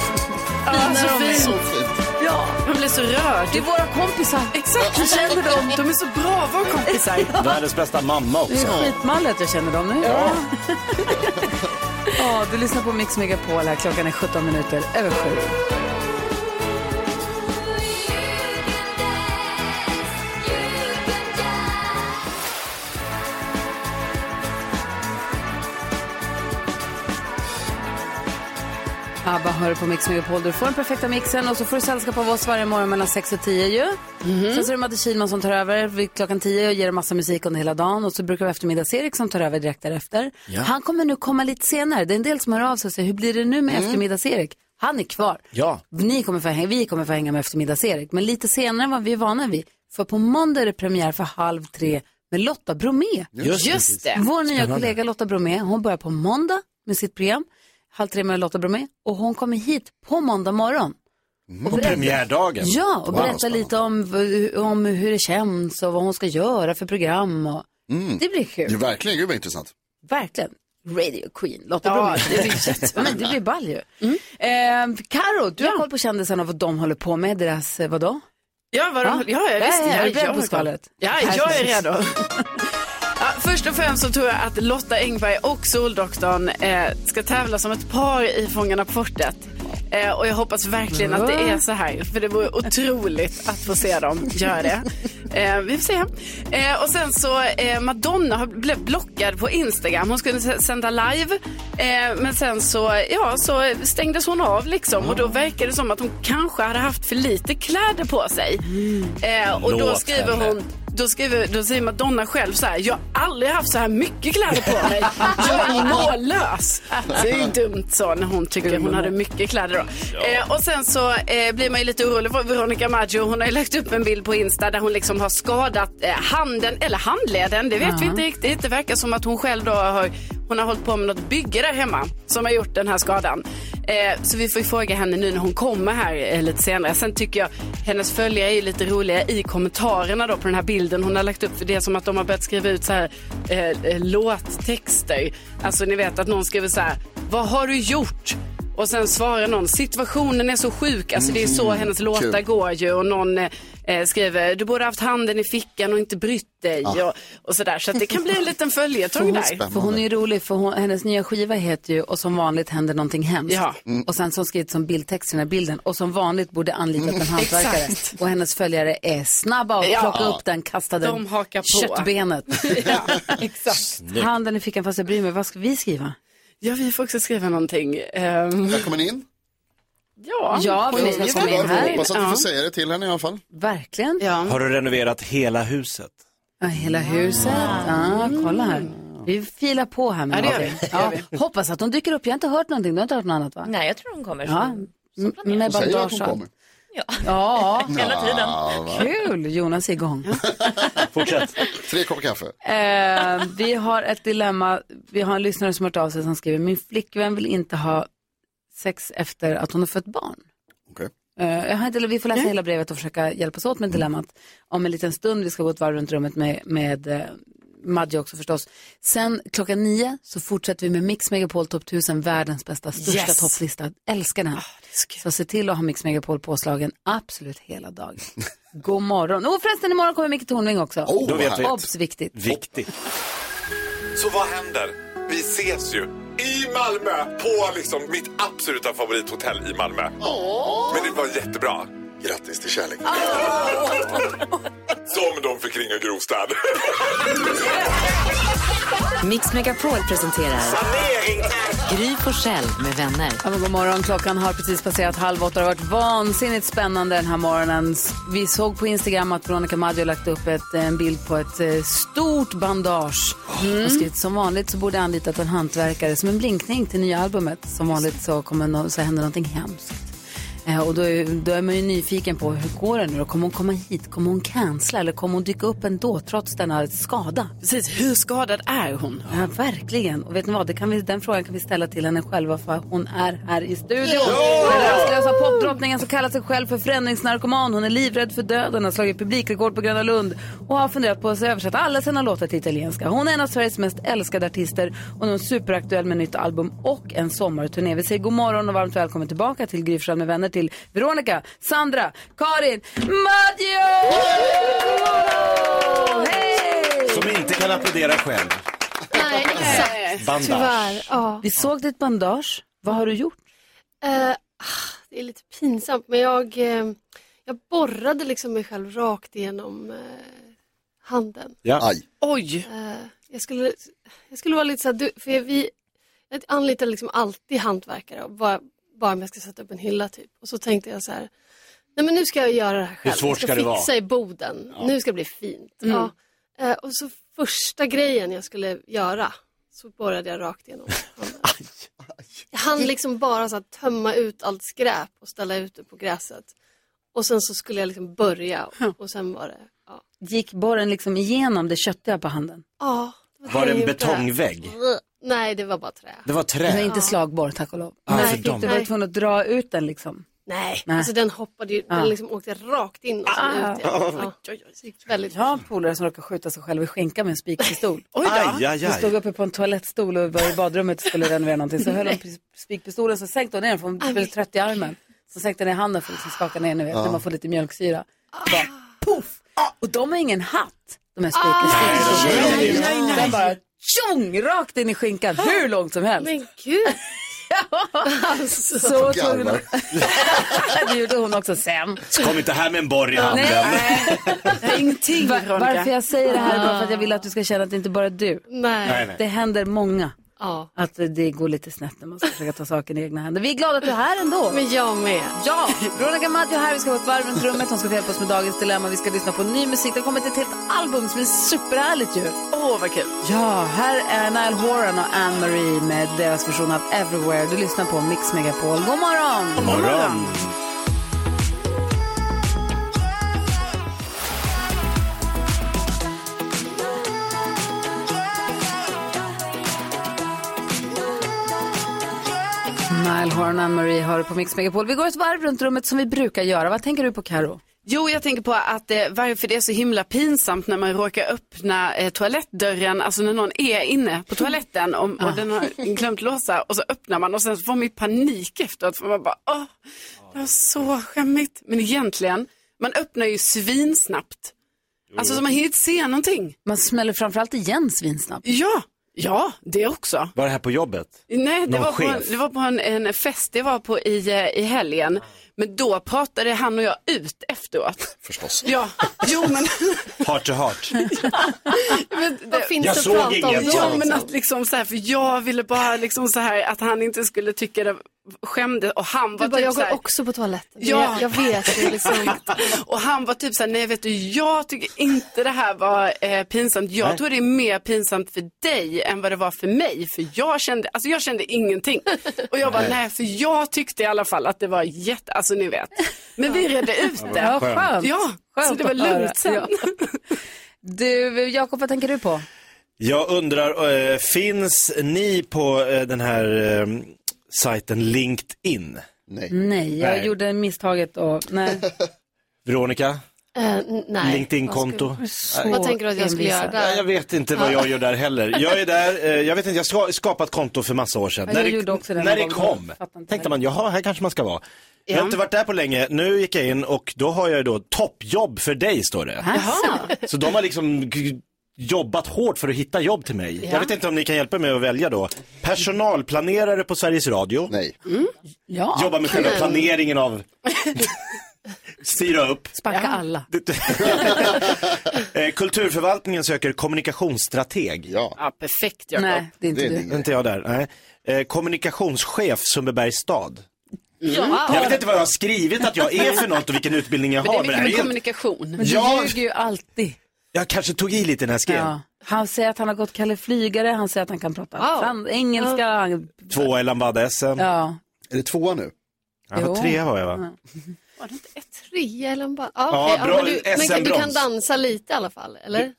D: Ja, Alltså, så fint.
A: Ja,
D: Man blir så rörd.
A: det är våra kompisar.
D: Exakt, jag känner dem. De är så bra, våra kompisar.
E: Världens bästa mamma
A: Det är
E: också.
A: skitmalligt att jag känner dem nu. Ja. du lyssnar på Mix Megapol här. Klockan är 17 minuter över 7. ABBA hör på Mix Megapol. Du får den perfekta mixen och så får du sällskap av oss varje morgon mellan 6 och 10 ju. Sen så är det Madde Kihlman som tar över vid klockan 10 och ger dig massa musik under hela dagen. Och så brukar vi ha eftermiddags-Erik som tar över direkt därefter. Han kommer nu komma lite senare. Det är en del som hör av sig och säger, hur blir det nu med eftermiddags-Erik? Han är kvar.
E: Ja.
A: Ni kommer få hänga, vi kommer få hänga med eftermiddags-Erik, men lite senare än vad vi är vana vid. För på måndag är det premiär för halv tre med Lotta Bromé.
E: Just,
D: Just det.
A: Vår nya kollega Lotta Bromé, hon börjar på måndag med sitt program, Halv tre med Lotta Bromé, och hon kommer hit på måndag morgon.
E: Mm. På
A: berätta-
E: premiärdagen.
A: Ja, och
E: Wow,
A: berätta
E: spännande.
A: lite om, om hur det känns och vad hon ska göra för program. Och...
E: Mm.
A: Det blir kul.
C: Mm. Det är verkligen, gud vad intressant.
A: Verkligen. Radio Queen, Lotta
D: Ja,
A: Bromé.
D: det blir
A: Men det blir ball ju. Mm. Eh, Karo, du har koll på kändisarna och vad de håller på med, deras, eh, vadå?
D: Ja, vad de,
A: Va?
D: ja, ja,
A: Ja,
D: visst.
A: ja,
D: jag
A: är du beredd
D: jag
A: på
D: har
A: skvallret?
D: koll. Ja, jag är redo. Ja, först och främst så tror jag att Lotta Engberg och Soldoktorn eh, ska tävla som ett par i Fångarna på fortet. Eh, och jag hoppas verkligen att det är så här, för det vore otroligt att få se dem göra det. Eh, vi får se. Eh, och sen så, eh, Madonna har blev blockad på Instagram. Hon skulle s- sända live, eh, men sen så, ja, så stängdes hon av liksom. Och då verkar det som att hon kanske hade haft för lite kläder på sig. Eh, och då
E: Låt
D: skriver
E: henne.
D: hon då, skriver, då säger Madonna själv så här, jag har aldrig haft så här mycket kläder på mig. Jag är mållös. Så det är ju dumt så när hon tycker hon hade mycket kläder då. Eh, och sen så eh, blir man ju lite orolig för Veronica Maggio. Hon har ju lagt upp en bild på Insta där hon liksom har skadat eh, handen eller handleden. Det vet vi inte riktigt. Det verkar som att hon själv då har, hon har hållit på med något bygge där hemma som har gjort den här skadan. Eh, så vi får ju fråga henne nu när hon kommer här eh, lite senare. Sen tycker jag hennes följare är ju lite roliga i kommentarerna då på den här bilden hon har lagt upp. För det är som att de har börjat skriva ut så här eh, eh, låttexter. Alltså ni vet att någon skriver så här, vad har du gjort? Och sen svarar någon, situationen är så sjuk, alltså det är så hennes låtar
C: Kul.
D: går ju. Och någon eh, eh, skriver, du borde haft handen i fickan och inte brytt dig. Och, och sådär, så att det kan bli en liten följetong där.
A: För hon är ju rolig, för hon, hennes nya skiva heter ju Och som vanligt händer någonting hemskt.
D: Ja.
A: Och sen så har hon skrivit som bildtext i den här bilden, Och som vanligt borde anlitat en hantverkare.
D: Exakt.
A: Och hennes följare är snabba och
D: Ja.
A: plocka upp den, kasta
D: De
A: den,
D: hakar på.
A: köttbenet.
D: ja, exakt.
A: Handen i fickan fast jag bryr mig, vad ska vi skriva?
D: Ja, vi får också skriva någonting. Ehm,
C: Välkommen in.
D: ja,
A: Ja,
D: Hon
A: vi
D: är
A: ska
D: ju
A: komma in
D: väldigt-
A: här.
C: Hoppas att vi
D: Ja.
C: får säga det till henne i alla fall.
A: Verkligen.
D: Ja.
E: Har du renoverat hela huset?
A: Ja, hela huset. Ja, kolla här. Vi filar på här med
D: Ja, det gör vi.
A: någonting. Ja, hoppas att de dyker upp. Jag har inte hört någonting. Du har inte hört något annat va?
F: Nej, jag tror hon kommer.
A: Ja.
F: som-
A: M- Med
C: Hon säger att hon
A: bandage
C: kommer.
A: Ja,
F: Hela tiden.
C: Ja, va?
A: kul. Jonas är igång.
E: Fortsätt.
C: Tre koppar kaffe.
A: Eh, vi har ett dilemma. Vi har en lyssnare som har hört av sig som skriver, min flickvän vill inte ha sex efter att hon har fött barn.
C: Okej.
A: Eh, jag har inte, vi får läsa hela brevet och försöka hjälpas åt med
D: Mm.
A: dilemmat. Om en liten stund, vi ska gå ett varv runt rummet med, med eh, Madge också förstås. Sen klockan nio så fortsätter vi med Mix Megapol Top 1000, världens bästa, största
D: Yes. Ah,
A: topplista. Älskar den.
D: så kul.
A: så se till att ha Mix Megapol påslagen absolut hela dagen. God morgon. Och förresten, imorgon kommer Micke Tornving också.
C: Oh,
E: Då vet vi.
A: Obs, viktigt.
E: Viktigt.
M: Så vad händer? Vi ses ju i Malmö på liksom mitt absoluta favorithotell i Malmö. Men det var jättebra.
C: Grattis till kärleken.
M: Som de fick ringa Grostad.
B: Mix Megapol presenterar Gry Forssell med vänner.
A: Ja, men god morgon, klockan har precis passerat halv åtta. Det har varit vansinnigt spännande den här morgonen. Vi såg på Instagram att Veronica Maggio lagt upp ett, en bild på ett eh, stort bandage. Mm. Och skrivit som vanligt så borde jag anlitat en hantverkare som en blinkning till nya albumet. Som vanligt så, kommer no- så händer någonting hemskt. Eh, Och då är, då är man ju nyfiken på hur går det nu då? Kommer hon komma hit? Kommer hon cancella? Eller kommer hon dyka upp ändå trots denna skada?
D: Precis, hur skadad är hon?
A: Ja, verkligen. Och vet ni vad, det kan vi, den frågan kan vi ställa till henne själva för hon är här i studion. Den rastlösa popdrottningen som kallar sig själv för förändringsnarkoman. Hon är livrädd för döden, har slagit publikrekord på Gröna Lund och har funderat på att översätta alla sina låtar till italienska. Hon är en av Sveriges mest älskade artister och nu är hon superaktuell med nytt album och en sommarturné. Vi säger god morgon och varmt välkommen tillbaka till Gry Forssell med vänner till Veronica, Sandra, Karin, Maggio! Hej!
E: Som inte kan applådera själv.
N: Nej, exakt.
E: Bandage.
N: Tyvärr. Ja.
A: Vi såg ditt bandage. Vad har du gjort?
N: Eh, ah, det är lite pinsamt, men jag, eh, jag borrade liksom mig själv rakt igenom eh, handen.
E: Ja.
C: Aj.
D: Oj!
N: Eh, jag, skulle, jag skulle vara lite så här, du, för jag- vi jag anlitar liksom alltid hantverkare, och bara, bara om jag ska sätta upp en hylla typ. Och så tänkte jag så här, nej men nu ska jag göra det här själv.
E: svårt
N: jag
E: ska det vara?
N: fixa i boden, nu ska det bli fint. Ja. Eh, och så första grejen jag skulle göra, så borrade jag rakt igenom handen. Jag hann liksom bara så här, tömma ut allt skräp och ställa ut det på gräset. Och sen så skulle jag liksom börja och- och sen var det, ja.
A: gick borren liksom igenom det köttiga på handen.
N: Ja,
E: Var det en
N: jag gjorde.
E: betongvägg?
N: Nej, det var bara trä.
E: Det var
A: Det var
E: trä.
A: inte slagborr, tack och lov.
E: Ah,
A: Nej,
E: för
A: fick
E: dem.
A: du var tvungen att dra ut den liksom.
N: Nej,
A: Nej.
N: alltså den hoppade ju,
A: Ja.
N: den liksom åkte rakt in och sen
A: Ah.
N: ut igen. Ja. Typ Så det gick väldigt
A: Jag har en polare som råkade skjuta sig själv i skinkan med en spikpistol.
N: Oj då. Aj, aj, aj.
A: Hon stod uppe på en toalettstol och var i badrummet och skulle renovera någonting. Så höll hon
N: Nej.
A: spikpistolen så sänkte hon ner den för hon blev trött i armen. Så sänkte hon ner handen för att liksom skaka ner, ni vet,
O: Ja.
A: när man får lite mjölksyra. Bara, puff! Och de har ingen hatt, de
N: Ah.
A: här spikpistolerna.
O: Nej, nej, nej.
A: Den bara tjong, rakt in i skinkan, hur långt som helst.
N: Men gud! Alltså.
A: Så tog hon, det gjorde hon också sen.
E: Så kom inte här med en borr i handen.
A: Ingenting Varför jag säger det här är bara för att jag vill att du ska känna att det inte bara är du.
E: Nej, nej.
A: Det händer många.
N: Ja.
A: Att det går lite snett när man ska försöka ta saken i egna händer. Vi är glada att du är här ändå.
N: Men jag med.
A: Ja, Veronica Maggio här. Vi ska gå ett varv runt rummet. Hon ska få hjälpa oss med dagens dilemma. Vi ska lyssna på ny musik. Det har kommit ett helt album som är superhärligt ju.
D: Åh, vad kul.
A: Ja, här är Nile Horan och Anne-Marie med deras version av Everywhere. Du lyssnar på Mix Megapol. God morgon!
E: God morgon.
A: Nile Horan och Anne-Marie har du på Mix Megapol. Vi går ett varv runt rummet som vi brukar göra. Vad tänker du på Karo?
D: Jo, jag tänker på att eh, varför det är så himla pinsamt när man råkar öppna eh, toalettdörren, alltså när någon är inne på toaletten och,
A: Ah.
D: och den har glömt låsa och så öppnar man och sen så får man ju panik efteråt för man bara, åh, det var så skämmigt. Men egentligen, man öppnar ju svinsnabbt. Alltså så man hinner inte se någonting.
A: Man smäller framförallt igen svinsnabbt.
D: Ja, ja, det också.
E: Var det här på jobbet?
D: Nej, det
E: Någon
D: var, på en,
E: chef?
D: det var på en, en fest det var på i, eh, i helgen. Men då pratade han och jag ut efteråt.
C: Förstås.
D: Ja, jo men...
E: Heart to heart.
D: men
N: Vad finns
E: Jag
D: det att
E: såg
D: prata om
E: inget,
D: då?
E: sa
D: Ja,
E: han.
D: men att liksom så här, för jag ville bara liksom så här att han inte skulle tycka det skämde och han var
N: Du bara,
D: typ
N: jag
D: så
N: går
D: här,
N: också på toaletten.
D: Ja.
N: Jag, jag vet. Det är liksom...
D: och han var typ såhär, nej vet du, jag tycker inte det här var eh, pinsamt. Jag
N: Nej.
D: tror det är mer pinsamt för dig än vad det var för mig. För jag kände, alltså jag kände ingenting. Och jag bara,
A: Nej.
D: nej för jag tyckte i alla fall att det var jätte, alltså ni vet. Men vi redde ut det.
A: Ja, skönt.
D: Ja, så
A: Skönt
D: det var
A: att höra.
D: lugnt sen.
A: Ja. Du, Jakob, vad tänker du på?
E: Jag undrar, eh, finns ni på eh, den här eh, sajten LinkedIn?
C: Nej.
A: Nej, jag
E: Nej.
A: gjorde misstaget och nej.
E: Veronica?
N: Eh, n- nej.
E: LinkedIn-konto?
N: Vad skulle- Vad tänker du att jag skulle göra
E: Nej, Jag
N: där?
E: vet inte vad jag gör där heller. Jag är där, eh, jag vet inte, jag ska- skapade ett konto för massa år sedan.
A: Ja, jag gjorde också det någon
E: när det
A: gång.
E: kom, tänkte man, jaha, här kanske man ska vara. Jag har
A: Ja.
E: inte varit där på länge, nu gick jag in och då har jag ju då toppjobb för dig, står det. Så de har liksom g- jobbat hårt för att hitta jobb till mig.
A: Ja.
E: Jag vet inte om ni kan hjälpa mig att välja då. Personalplanerare på Sveriges Radio.
C: Nej.
A: Mm. Ja.
E: Jobbar med själva
A: Kul.
E: planeringen av styra upp.
A: Sparka alla.
E: Eh, Kulturförvaltningen söker kommunikationsstrateg.
D: Ja, perfekt
A: Jakob. Nej, det är inte Det är du. din
E: Inte jag där. Nej. Eh, Kommunikationschef Sundbybergs stad.
D: Ja.
E: Jag vet inte vad jag har skrivit att jag är för något och vilken utbildning jag
D: Men det
E: har.
D: är
E: Men det
D: mycket
E: här är
D: med
E: helt...
D: kommunikation.
A: Men du
E: Ja.
A: ljuger ju alltid.
E: Jag kanske tog i lite när jag skrev.
A: Ja. Han säger att han har gått Kalle Flygare, han säger att han kan prata
D: Wow.
A: fran- engelska. han-
E: Två Ellen Bad-SM.
A: Ja.
C: Är det tvåa nu?
E: Ja,
A: Jo.
E: tre var jag va?
N: Trea eller en bara...
E: Ja,
N: Ja, okej.
E: bra.
N: ja, men du, men kan, du kan
E: SM-brons.
N: dansa lite i alla fall, eller?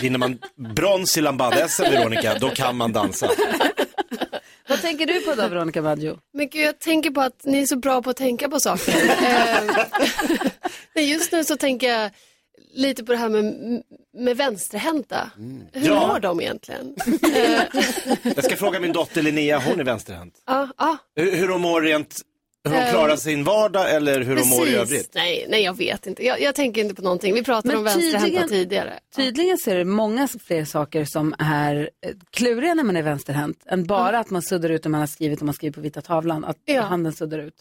E: Vinner man brons i Lambada-SM, Veronica, då kan man dansa.
A: Vad tänker du på då, Veronica Maggio?
N: Men gud, jag tänker på att ni är så bra på att tänka på saker. Eh, Nej, just nu så tänker jag lite på det här med, med vänsterhänta. Hur
E: Mm. Ja.
N: mår de egentligen?
E: Jag ska fråga min dotter Linnea, hon är vänsterhänt.
N: Ja, ja,
E: Hur, hur hon mår rent, hur hon
N: Eh,
E: klarar sin vardag eller hur hon mår i
N: precis.
E: övrigt.
N: Nej, nej, jag vet inte. Jag, jag tänker inte på någonting. Vi pratade
A: Men
N: om vänsterhänta
A: tydligen-
N: tidigare.
A: Tydligen ser det många fler saker som är eh, kluriga när man är vänsterhänt än bara att man suddar ut när man har skrivit och man skriver på vita tavlan, att handen suddar ut.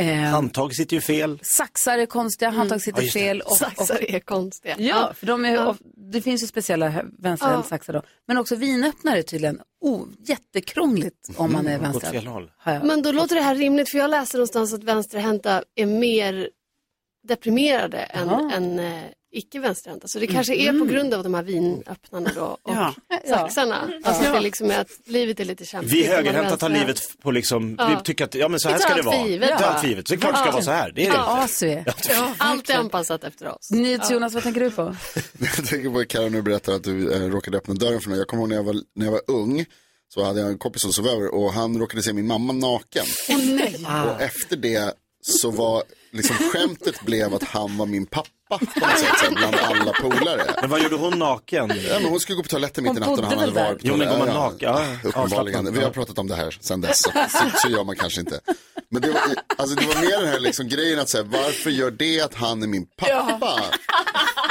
A: Ehm,
E: Handtag sitter ju fel.
A: Saxar är konstiga, handtag sitter
E: Ja, just det.
A: fel. Och, och,
N: Mm. Saxar är konstiga.
A: Ja, för de är, och, det finns ju speciella hö- vänsterhäntsaxar då. Men också vinöppnare är tydligen oh, jättekrångligt om man är
E: Mm, gått
A: vänsterhänt.
E: fel håll.
A: Har jag-
N: Men då låter det här rimligt, för jag läste någonstans att vänsterhänta är mer deprimerade än, än eh, icke vänsterhänta.
E: Mm.
N: Så det kanske är
G: Mm.
N: på grund av de här vinöppnarna då och
E: Ja.
N: saxarna. Alltså
E: Ja.
N: det är liksom är att livet är lite kämpigt.
E: Vi
N: om man är
E: högerhänta tar
N: vänsterhänt.
E: livet f- på liksom,
N: Ja.
E: vi tycker att ja men så
N: Vi
E: här
N: tar
E: ska det
N: allt
E: vara.
N: för givet.
E: Vi tar
N: Ja.
E: allt för givet. Så det är klart det ska
N: Ja.
E: vara så här. Det är
N: Ja.
E: det
A: as vi är.
N: Ja, allt är anpassat efter oss.
A: NyhetsJonas, vad tänker du på?
C: Jag tänker på att Karo nu berättar att du eh, råkade öppna dörren för mig. Jag kommer ihåg när jag var, när jag var ung. Så hade jag en kompis som sov över och han råkade se min mamma naken.
D: Åh, nej.
C: Och efter det så var liksom skämtet blev att han var min pappa på något sätt, så här, bland alla polare.
E: Men vad gjorde hon naken?
C: Ja, men hon skulle gå på toaletten mitt i
E: Hon
C: natten och
E: bodde
C: han hade
E: väl där?
C: varit
E: Jo, men går man
C: Ja,
E: naken? Ja, avslappnad.
C: Uppenbarligen. Vi har pratat om det här sedan dess, så, så, så gör man kanske inte. Men det var, alltså, det var mer den här liksom, grejen att säga, varför gör det att han är min pappa?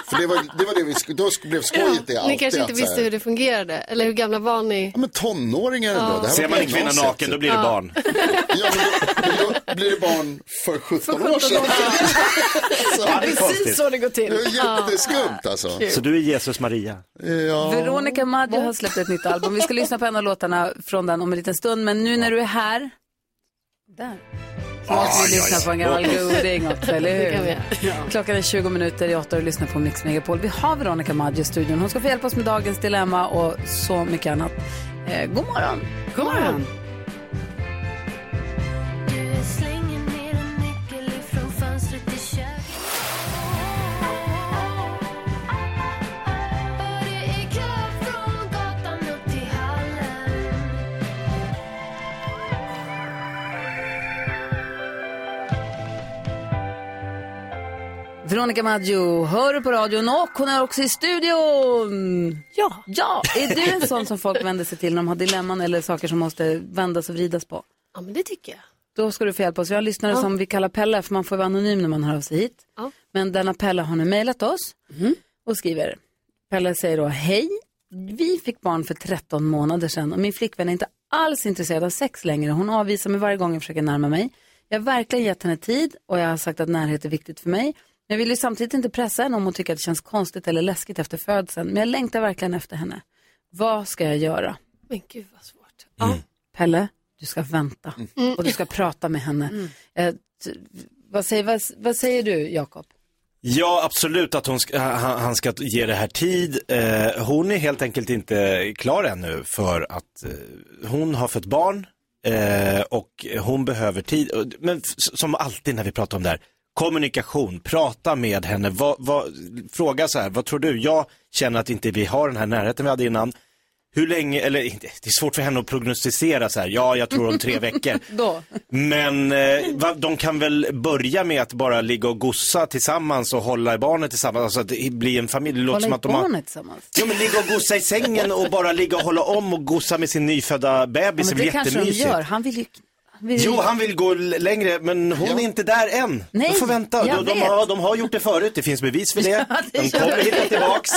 C: För det var det, var det vi, sk- då sk- blev skojet det alltid.
N: Ni kanske inte
C: att så här-
N: visste hur det fungerade, eller hur gamla var ni?
C: Ja, men tonåringar ändå. Det här var
E: Ser man en kvinna
C: gymnasiet,
E: naken
C: typ.
E: då blir det barn.
C: blir det barn för 17, år sedan.
D: Det är precis så det går till.
C: Det är jätteskumt alltså.
E: Så du är Jesus Maria?
C: Ja.
A: Veronica Maggio har släppt ett nytt album. Vi ska lyssna på en av låtarna från den om en liten stund. Men nu när du är här, där, så måste vi lyssna på en gammal goding också, eller
N: Det kan vi
A: hur?
N: göra.
A: Klockan är 20 minuter i åtta och du lyssnar på Mix Megapol. Vi har Veronica Maggio i studion. Hon ska få hjälpa oss med dagens dilemma och så mycket annat. Eh, god morgon! God morgon! Veronica Maggio hör du på radion och hon är också i studion. Ja. Ja, är du en sån som folk vänder sig till när de har dilemman eller saker som måste vändas och vridas på?
N: Ja, men det tycker jag.
A: Då ska du få hjälpa oss. Vi har en lyssnare
N: Ja.
A: som vi kallar Pelle, för man får vara anonym när man hör av sig hit.
N: Ja. Mhm.
A: Men denna Pelle har nu mejlat oss och skriver. Pelle säger då, hej, vi fick barn för 13 månader sedan och min flickvän är inte alls intresserad av sex längre. Hon avvisar mig varje gång jag försöker närma mig. Jag har verkligen gett henne tid och jag har sagt att närhet är viktigt för mig. Men jag vill ju samtidigt inte pressa henne om hon tycker att det känns konstigt eller läskigt efter födseln. Men jag längtar verkligen efter henne. Vad ska jag göra?
N: Men gud vad svårt.
A: Pelle, du ska vänta
E: Mm.
A: och du ska prata med henne. Eh, t- vad, säger, vad, vad säger du, Jakob?
E: Ja, absolut att hon ska, han, han ska ge det här tid. Eh, hon är helt enkelt inte klar ännu för att eh, hon har fött barn eh, och hon behöver tid. Och- Men f- som alltid när vi pratar om det här, kommunikation, prata med henne, vad, vad, fråga så här, vad tror du? Jag känner att inte vi har den här närheten vi hade innan. Hur länge, eller inte- det är svårt för henne att prognostisera så här, ja jag tror om tre veckor.
A: Då?
E: Men eh, va, de kan väl börja med att bara ligga och gossa tillsammans och hålla i barnet tillsammans, alltså att det blir en familj. Det låter som
A: Hålla i
E: att de har...
A: barnet tillsammans.
E: Ja men ligga och gossa i sängen och bara ligga och hålla om och gossa med sin nyfödda
A: Ja,
E: bebis,
A: men
E: det
A: det
E: blir
A: kanske de
E: jättemysigt.
A: gör. Han vill ju... Han vill ju-
E: Jo, han vill gå l- längre, men hon är inte där än.
A: Nej,
E: de får vänta.
A: jag
E: De, de,
A: vet.
E: har, de har gjort det förut, det finns bevis för det.
A: Ja, det
E: de
A: gör
E: kommer
A: det.
E: hitta tillbaks.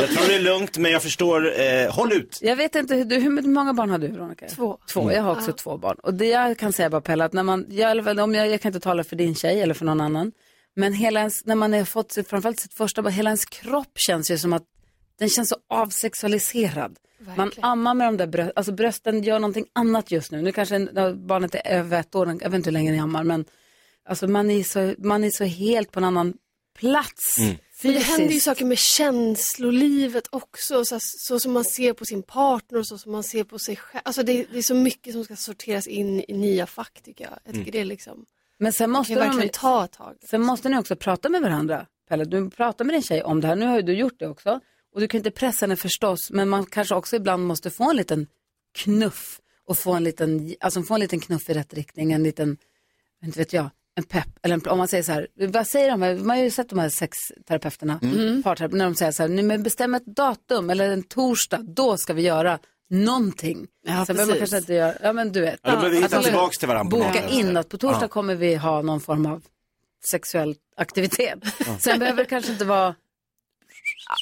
E: Jag tror det är lugnt, men jag förstår. Eh, håll ut.
A: Jag vet inte, hur, du, hur många barn har du Veronica? Två. Två, jag har också
N: Ja.
A: två barn. Och det jag kan säga bara Pelle, att när man, jag, i alla fall- om jag, jag kan inte tala för din tjej eller för någon annan, men hela ens, när man har fått sitt, framförallt sitt första barn, hela ens kropp känns ju som att den känns så avsexualiserad. Man ammar med de där brösten, alltså brösten gör någonting annat just nu. Nu kanske en- när barnet är över ett år, jag vet inte hur länge ni ammar, men alltså man är så, man är så helt på en annan plats.
N: Men det händer ju
A: fysiskt.
N: saker med känslolivet också, så, så som man ser på sin partner och så som man ser på sig själv. Alltså det, det är så mycket som ska sorteras in i nya fack tycker jag. Jag tycker
A: Mm.
N: det är liksom,
A: Men sen måste
N: kan ju verkligen
A: de,
N: ta ett tag. liksom.
A: Sen måste ni också prata med varandra. Pelle, du pratar med din tjej om det här. Nu har ju du gjort det också. Och du kan inte pressa henne förstås, men man kanske också ibland måste få en liten knuff och få en liten, alltså få en liten knuff i rätt riktning, en liten, inte vet jag, en pepp. Eller en, om man säger så här, vad säger de? här- Man har ju sett de här sexterapeuterna,
N: Mm.
A: parterape- när de säger så här, nu men bestäm ett datum eller en torsdag, då ska vi göra någonting.
D: Ja,
A: Sen behöver man
D: precis.
A: kanske inte göra, ja men du vet. Alltså,
E: Ja, då behöver vi hitta
A: Att man-
E: tillbaks till varandra på något
A: Boka
E: sätt.
A: in att på torsdag
E: Ja.
A: kommer vi ha någon form av sexuell aktivitet. Sen behöver det kanske inte vara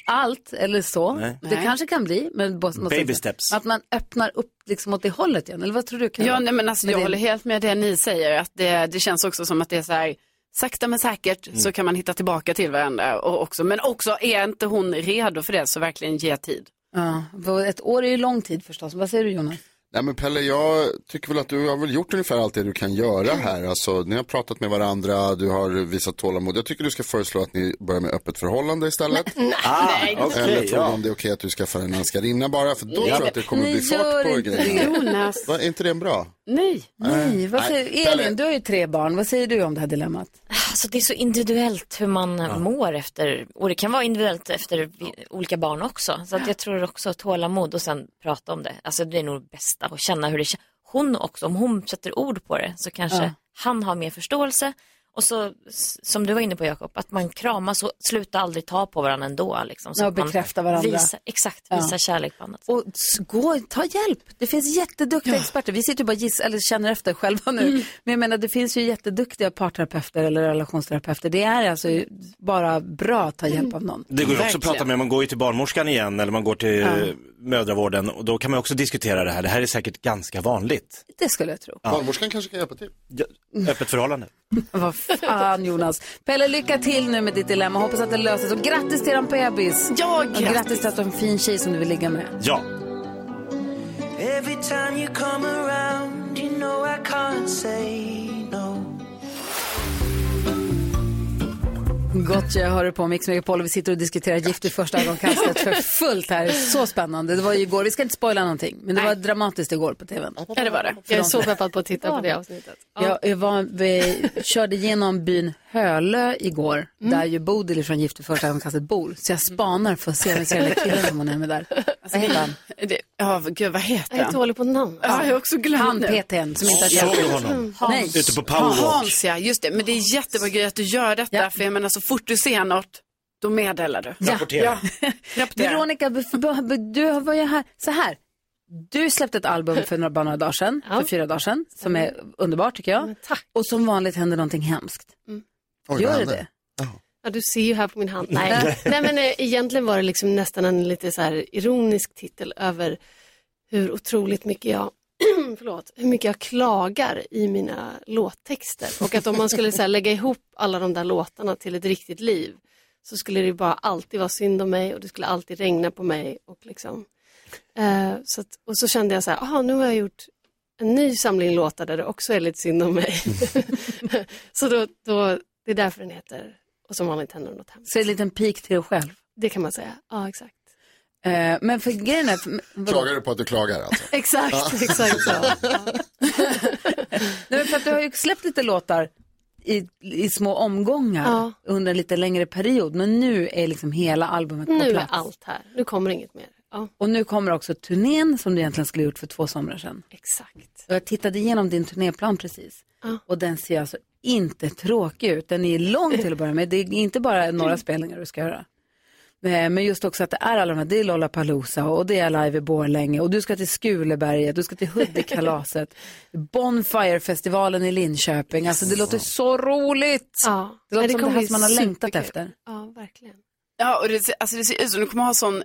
A: allt eller så.
E: Nej.
A: Det
D: Nej.
A: kanske kan bli, men bo- måste
E: Baby steps.
A: att man öppnar upp liksom åt det hållet igen. Eller vad tror du? Karin?
D: Ja, nej, men alltså,
A: Med
D: jag
A: din-
D: håller helt med det ni säger. Att det, det känns också som att det är så här, sakta men säkert
E: Mm.
D: så kan man hitta tillbaka till varandra. Och också, men också, är inte hon redo för det så verkligen ge tid.
A: Ja, för ett år är ju lång tid förstås. Vad säger du Jonas?
C: Nej men Pelle, jag tycker väl att du har väl gjort ungefär allt det du kan göra här. Alltså, ni har pratat med varandra, du har visat tålamod. Jag tycker du ska föreslå att ni börjar med öppet förhållande istället.
G: Nej,
E: Ah,
G: nej.
C: Eller
G: okej,
C: fråga
G: ja.
C: om det är okej att du skaffar en älskarinna bara, för då
G: Nej,
C: tror jag att det kommer
A: ni
C: bli
A: gör
C: fart på
A: inte
C: grejerna.
A: det. Jonas.
C: Va, är inte det en bra?
D: Nej.
A: Nej, vad
C: Nej,
A: säger,
C: Pelle.
A: Elin, du har ju tre barn. Vad säger du om det här dilemmat?
F: Alltså det är så individuellt hur man mår efter, och det kan vara individuellt efter vi- olika barn också. Så att jag tror också tålamod och sen prata om det. Alltså det är nog det bästa och känna hur det känns. Hon också, om hon sätter ord på det så kanske
A: Ja.
F: han har mer förståelse. Och så, s- som du var inne på Jakob, att man kramas och slutar aldrig ta på varandra ändå. Liksom, så
A: Ja,
F: att man
A: bekräfta varandra.
F: Visar, exakt,
A: Ja.
F: visar kärlek på annat
A: Och s- gå, ta hjälp. Det finns jätteduktiga experter. Vi sitter ju bara och gissar, eller känner efter själva nu. Men jag menar, det finns ju jätteduktiga parterapeuter eller relationsterapeuter. Det är alltså ju bara bra att ta hjälp av någon.
E: Det går ju också att prata med, man går ju till barnmorskan igen eller man går till
A: Ja.
E: eh, mödravården och då kan man också diskutera det här. Det här är säkert ganska vanligt.
A: Det skulle jag tro.
C: Barnmorskan kanske kan hjälpa till.
E: Ja, öppet förhållande.
A: Vad fan Jonas. Pelle, lycka till nu med ditt dilemma. Hoppas att det löses. Och grattis till eran bebis.
D: Ja,
A: Och grattis till att du har en fin tjej som du vill ligga med.
E: Ja.
G: Every time you come around you know I can't say no
A: Gott jag hör på Mix Megapol och vi sitter och diskuterar gift i första ögonkastet för fullt här. Så spännande. Det var ju igår, vi ska inte spoila någonting, men det var dramatiskt igår på tvn.
N: Ja, det var det. Jag är så peppad på att titta på det avsnittet.
A: Jag, jag var, vi körde genom byn Hölö igår, där ju Bodil från Gift i första ögonkastet bor. Så jag spanar för att se den där killen som hon är med där. Vad heter han?
D: Det, ja, gud vad heter
N: Jag är
D: han?
N: dålig på namn.
D: Ja, jag har också glömt
A: Han
D: nu.
A: PT'n som inte har
E: Såg du
N: Mm.
E: honom?
A: Nej.
E: Ute på powerwalk.
D: Hans, ja, just det. Men det är jättebra grej att du gör detta, för jag menar så fort du ser något, då meddelar du.
A: Ja. Rapportera.
D: Rapportera.
A: Veronica, bef- be- be- du var ju här. Så här. Du släppte ett album för några, bara några dagar sedan, för fyra dagar sedan, som är underbart tycker jag. Och som vanligt händer någonting hemskt.
N: Mm.
A: Oj, Gör det det?
N: Ja, du ser ju här på min hand. Nej, Nej men eh, egentligen var det liksom nästan en lite så här ironisk titel över hur otroligt mycket jag förlåt, hur mycket jag klagar i mina låttexter. Och att om man skulle så här, lägga ihop alla de där låtarna till ett riktigt liv så skulle det ju bara alltid vara synd om mig och det skulle alltid regna på mig. Och, liksom. eh, så att, och så kände jag så här, aha, nu har jag gjort en ny samling låtar där det också är lite synd om mig. så då, då, det är därför den heter Och som vanligt händer något hemskt.
A: Så en liten pik till dig själv.
N: Det kan man säga, ja exakt.
A: Eh, men för grejen är... för- vadå?
C: Klagar du på att du klagar alltså?
N: Exakt, exakt så.
A: Nej, men för att du har ju släppt lite låtar i, i små omgångar
N: Ja.
A: under en lite längre period. Men nu är liksom hela albumet på
N: Nu är
A: plats.
N: allt här, nu kommer inget mer. Ja,
A: Och nu kommer också turnén som du egentligen skulle ha gjort för två somrar sedan.
N: exakt.
A: Och jag tittade igenom din turnéplan precis. Och den ser alltså inte tråkig ut. Den är lång till att börja med. Det är inte bara några spelningar du ska göra. Eh, Men just också att det är alla de här, det är Lollapalooza och det är Live i Borlänge och du ska till Skuleberget, du ska till Huddekalaset, Bonfire-festivalen i Linköping. Alltså det låter så roligt!
N: Ja.
A: Det låter
D: Ja, det
A: som det
D: kommer
A: här
D: bli
A: som man har längtat
D: superkul.
A: efter.
N: Ja, verkligen.
D: Ja, och det, ser- alltså det ser ut som du kommer ha sån,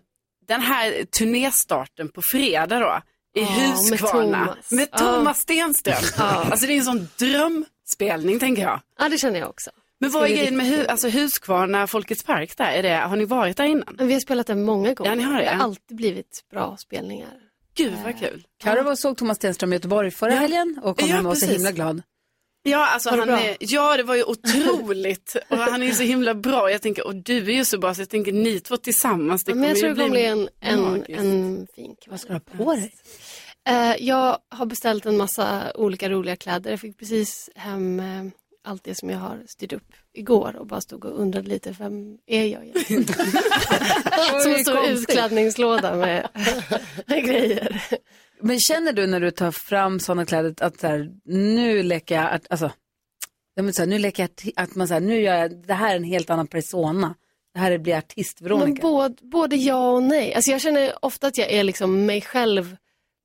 D: den här turnéstarten på fredag då, i
N: Ja, med
D: Huskvarna.
N: Thomas.
D: Med
N: Ja.
D: Thomas Stenström.
N: Ja.
D: Alltså det är en sån drömspelning tänker jag.
N: Ja, det känner jag också.
D: Men vad är
N: Ska bli
D: grejen med
N: riktigt
D: hu- alltså, Huskvarna, Folkets park där? Är det, har ni varit där innan?
N: Men vi har spelat den många gånger.
D: Ja, ni har det.
N: Det har alltid blivit bra spelningar.
D: Gud vad kul.
A: Karo var och såg Thomas Stenström i Göteborg förra helgen och kom
D: Ja,
A: hem och var så
D: precis.
A: himla glad.
D: Ja, alltså
A: Var det
D: han
A: bra?
D: är, ja, det var ju otroligt. och han är ju så himla bra. Jag tänker, och du är ju så bra, så jag tänker ni två tillsammans, det
N: Ja, men jag tror
D: kommer
N: det kommer bli en, en,
D: magiskt.
N: en fin kväll.
A: Vad ska du ha på dig?
N: Eh, jag har beställt en massa olika roliga kläder. Jag fick precis hem eh, allt det som jag har styrt upp igår och bara stod och undrade lite, vem är jag egentligen? som en stor
A: konstigt.
N: utklädningslåda med, med grejer.
A: Men känner du när du tar fram sådana kläder att så här, nu leker jag, att, alltså, jag menar så här, nu leker jag, arti- att man så här, nu gör jag, det här är en helt annan persona. Det här blir
N: Men
A: artist-Veronica.
N: både, både ja och nej. Alltså jag känner ofta att jag är liksom mig själv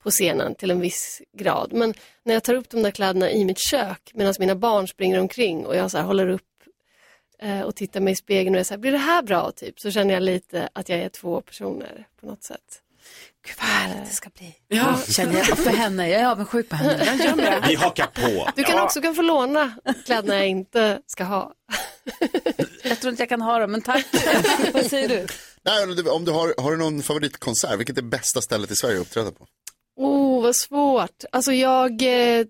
N: på scenen till en viss grad. Men när jag tar upp de där kläderna i mitt kök medan mina barn springer omkring och jag så här håller upp eh, och tittar mig i spegeln och är så här, blir det här bra? Typ. Så känner jag lite att jag är två personer på något sätt. Eh,
A: Gud vad härligt det ska bli.
D: Ja.
A: Känner jag för henne, jag är avundsjuk på henne.
E: Vi hakar på.
N: Du kan
E: Ja.
N: också kan få låna kläderna jag inte ska ha.
A: Jag tror inte jag kan ha dem, men tack. vad säger du?
C: Nej, om du, om du har, har du någon favoritkonsert, vilket är bästa stället i Sverige att uppträda på?
N: Oh, vad svårt. Alltså jag eh,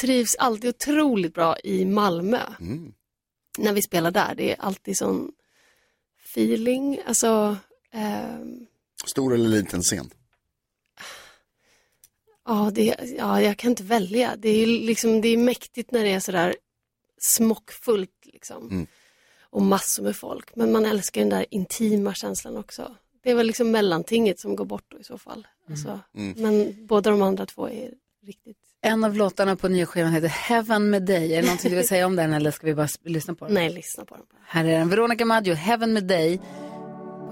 N: trivs alltid otroligt bra i Malmö.
C: Mm.
N: när vi spelar där. Det är alltid sån feeling. Alltså, ehm,
C: Stor eller liten scen?
N: ja, det, ja, jag kan inte välja. Det är, ju liksom, det är mäktigt när det är sådär smockfullt liksom.
C: Mm.
N: och massor med folk. Men man älskar den där intima känslan också. Det är väl liksom mellantinget som går bort då i så fall. Alltså,
C: Mm.
N: Men båda de andra två är riktigt
A: En av låtarna på nya skivan heter Heaven med dig. Är det någonting du vill säga om den eller ska vi bara s- lyssna på den?
N: Nej, lyssna på den.
A: Här är den. Veronica Maggio, Heaven med dig.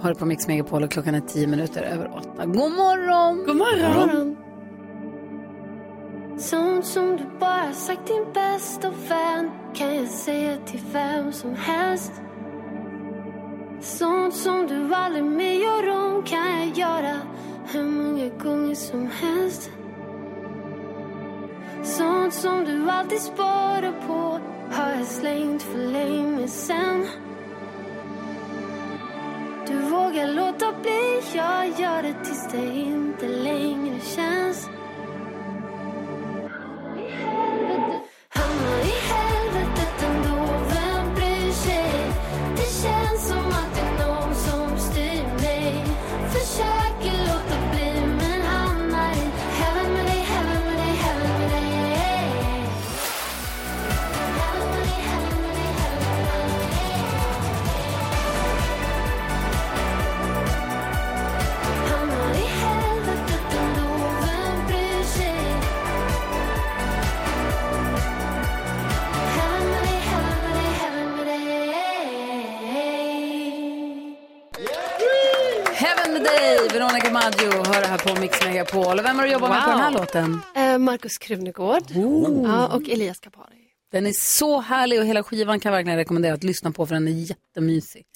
A: Hör på Mix Megapol och klockan är tio minuter över åtta. God morgon!
D: God morgon!
G: Sånt som du bara sagt din bästa vän kan jag säga till vem som helst Sånt som du aldrig mer gör om kan jag göra hur många gånger som helst Sånt som du alltid sparar på har jag slängt för länge sen Du vågar låta bli, jag gör det tills det inte längre känns Hamnar i helvetet ändå, vem bryr sig? Det känns som att det är någon som styr mig Försöker låta bli men hamnar i heaven med dig, heaven med dig, heaven med dig Hamnar i helvetet ändå, vem bryr sig? Heaven med dig, heaven med dig, heaven med dig
A: Heaven med dig, Veronica Maggio, hör det här på Mix Megapol. Och vem har du jobbat med på
N: Wow.
A: den här låten?
N: Eh, Markus Krunegård ja, och Elias Kapari.
A: Mm. Den är så härlig och hela skivan kan jag verkligen rekommendera att lyssna på för den är jättemysig.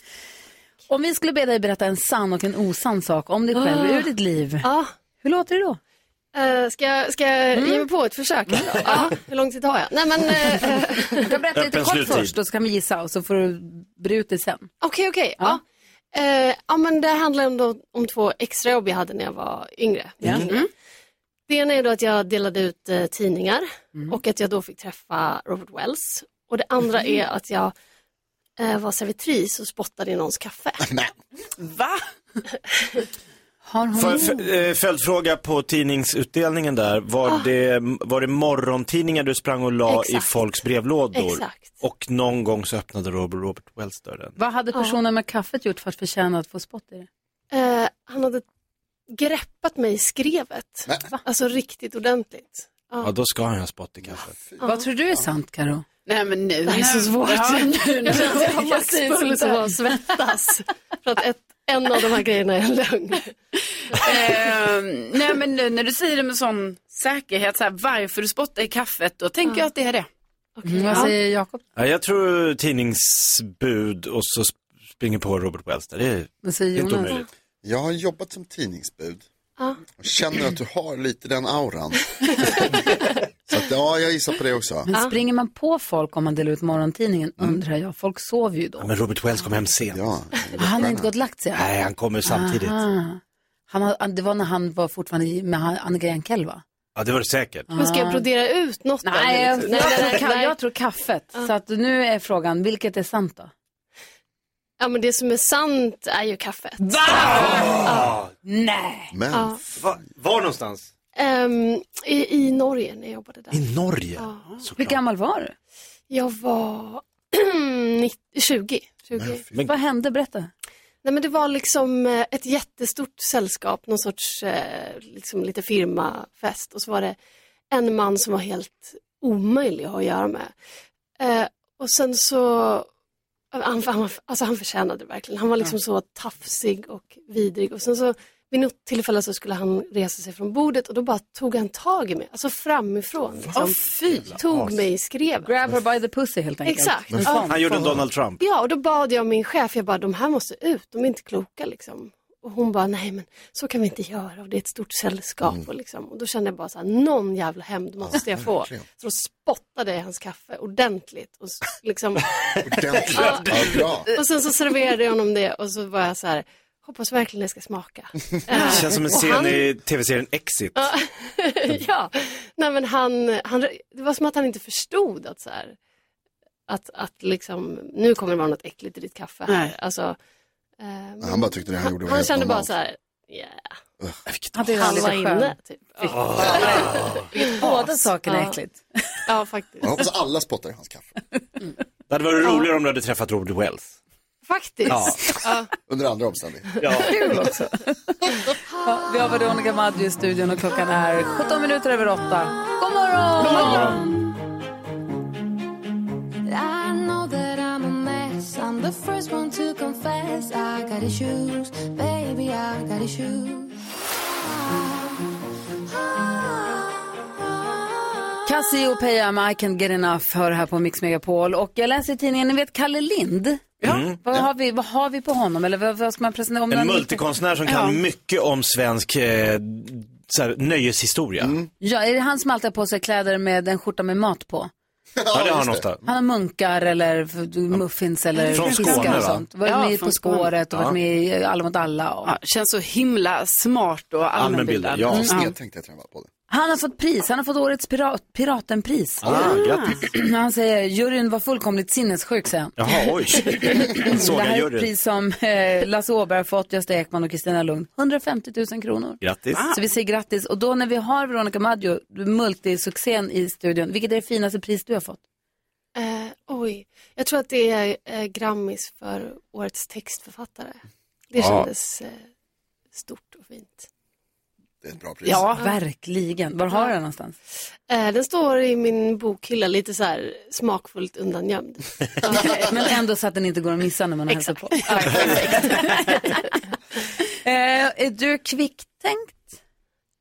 A: Om vi skulle be dig berätta en sann och en osann sak om dig själv
N: Ah.
A: ur ditt liv,
N: Ja.
A: hur låter det då? Mm.
N: Eh, ska jag, ska jag ge mig på ett försök? Då? ja, hur lång tid har jag? Nej, men, eh,
A: Du kan berätta lite
N: Öppen
A: kort
N: sluttid.
A: först och så kan vi gissa och så får du bre ut det sen.
N: Okej, okej. Ja. Eh, ja, men det handlar ändå om två extra jobb jag hade när jag var yngre. Mm. Det ena är då att jag delade ut eh, tidningar
A: Mm.
N: och att jag då fick träffa Robert Wells. Och det andra
A: Mm.
D: Mhm.
N: är att jag eh, var servitris och spottade i någons kaffe.
D: Va?
A: Har hon...
E: För, för, eh, följdfråga på tidningsutdelningen där. Var,
N: Ah.
E: det, var det morgontidningar du sprang och la i
A: Exakt.
E: folks brevlådor?
A: Exakt.
E: Och någon gång så öppnade Robert, Robert Wells dörren.
A: Vad hade
N: Ah,
A: personen med kaffet gjort för att förtjäna att få spott i det?
N: Eh, han hade greppat mig i skrevet. Alltså riktigt ordentligt. Ja.
E: Ja, då ska han ju ha spott i kaffet.
A: Vad tror du är sant, Karo?
D: Nej men nu.
N: Det här är så svårt.
D: Ja, nu när
N: Det
D: jag
N: var Max Bull som var svettas. För att ett, en av de här grejerna är en lögn.
D: Ehm, nej men nu när du säger det med sån säkerhet, så här, varför du spottar i kaffet, då tänker jag att det är det.
A: Mm,
N: Ah.
A: vad
D: Ja.
A: säger Jakob?
E: Ja, jag tror tidningsbud och så sp- springer på Robert Wells där. Det är
A: Vad säger
E: inte
A: Jonas?
E: omöjligt.
C: Jag har jobbat som tidningsbud.
N: Ja.
C: Och känner att du har lite den auran. Så att, ja, jag gissar på det också.
N: Ah.
A: Men springer man på folk om man delar ut morgontidningen undrar jag. Folk sover ju då.
E: Mm. Ja, men Robert Wells kom hem sent.
A: Han har inte gått och lagt sig?
E: Nej, han kommer samtidigt.
A: Aha. Han, har- det var när han var fortfarande i- med han- Annika Jankell va?
E: Ja, det var det säkert.
N: Men ska jag brodera ut något? då,
A: Ah. Nej, Ah.
N: eller
A: jag,
N: liksom?
A: jag,
N: Nej, nej,
A: tror, ka-
N: nej.
A: jag tror kaffet. Så att nu är frågan, vilket är sant då?
N: Ja, men det som är sant är ju kaffet.
E: Ah,
A: Nej.
C: Men.
N: Ja.
E: Va, var någonstans?
N: Ehm, i, I Norge när jag jobbade där.
E: I Norge?
A: Hur gammal var du?
N: Jag var 90, 20. 20.
E: Men-
A: Vad hände? Berätta.
N: Nej, men det var liksom eh, ett jättestort sällskap, någon sorts eh, liksom lite firmafest och så var det en man som var helt omöjlig att ha att göra med. Eh, och sen så, han, han, alltså han förtjänade det verkligen, han var liksom så tafsig och vidrig och sen så vid något tillfälle så skulle han resa sig från bordet och då bara tog han tag i mig, alltså framifrån. Liksom.
A: Åh, fy!
N: Tog mig i skrevet.
A: Grab her by the pussy helt enkelt.
N: Exakt.
A: En
N: Ja.
A: sån.
E: Han gjorde en Donald Trump.
N: Ja, och då bad jag min chef, jag bara, de här måste ut, de är inte kloka liksom. Och hon bara, nej men så kan vi inte göra och det är ett stort sällskap
E: Mm.
N: och liksom. Och då kände jag bara så här, någon jävla hämnd måste jag få.
G: verkligen.
N: Så då spottade jag i hans kaffe ordentligt och s- liksom.
C: Ordentligt.
N: Ja.
C: Ja, bra.
N: och sen så serverade jag honom det och så var jag så här, hoppas verkligen det ska smaka. Eh,
E: Det känns som en
N: och
E: scen
N: han-
E: i tv-serien Exit.
N: Ja.
A: Mm.
N: ja, nej men han, han, det var som att han inte förstod att så här, att, att liksom, nu kommer det vara något äckligt i ditt kaffe här.
A: Nej.
N: Alltså, eh, men
C: Han bara tyckte det han gjorde var
N: han
C: helt
N: kände bara
C: normalt.
N: så här, yeah.
A: Han tyckte han var
N: var
A: lite skön.
N: inne, typ.
A: Båda sakerna är
N: Ja.
A: äckligt.
N: Ja, faktiskt.
C: Jag hoppas alla spottar i hans kaffe.
E: Det hade varit roligare om du hade träffat Robert Wells.
N: Faktiskt.
A: Ah.
C: Ja. Under andra omständigheter.
A: Kul också. Ja, Ah. vi har Veronica Maggio i studion och klockan är 17 minuter över 8. God morgon!
G: God morgon! I know that I'm a mess. I'm the first one to confess. I got issues, baby, I got issues.
A: Cassie och Peja med I Can't Get Enough hör här på Mix Megapol. Och jag läser i tidningen, ni vet Kalle Lind?
E: Mm.
A: Vad, har vi, vad har vi på honom? Eller vad, vad ska man presentera? Om
E: En
A: någon-
E: multikonstnär som kan
A: Ja.
E: mycket om svensk eh, så här, nöjeshistoria.
C: Mm.
A: Ja, är det han som alltid har på sig kläder med en skjorta med mat på?
E: Ja, det har han ofta.
A: Han har munkar eller f- muffins eller
E: Från
A: fiskar
E: Skåne, va?
A: och sånt. Varit
D: Ja,
A: med
D: från
A: På spåret och
E: Skåne.
A: varit med i Alla mot alla. Och...
D: Ja, känns så himla smart och allmänbildad.
C: Allmänbildad, ja.
D: Mm.
C: Jag tänkte att jag var på det.
A: Han har fått pris, han har fått årets pirat, piratenpris.
C: Ah,
A: grattis. Han säger, juryn var fullkomligt sinnessjuk, säger han.
E: Jaha, oj.
A: Det
E: Såg
A: här
E: jag
A: är ett
E: juryn.
A: pris som eh, Lasse Åberg har fått, Gösta Ekman och Kristina Lund. 150 000 kronor.
E: Grattis.
A: Så vi säger grattis. Och då när vi har Veronica Maggio, multisuccén i studion, vilket är det finaste pris du har fått?
N: Eh, oj, jag tror att det är eh, Grammis för årets textförfattare. Det
A: Ja.
N: kändes eh, stort och fint.
C: Det är ett bra pris.
A: Ja, verkligen. Var har du den någonstans?
N: Eh, den står i min bokhylla lite så här smakfullt undangömd.
A: Men ändå så att den inte går att missa när man hälsar på. Ja, eh, är du kvicktänkt?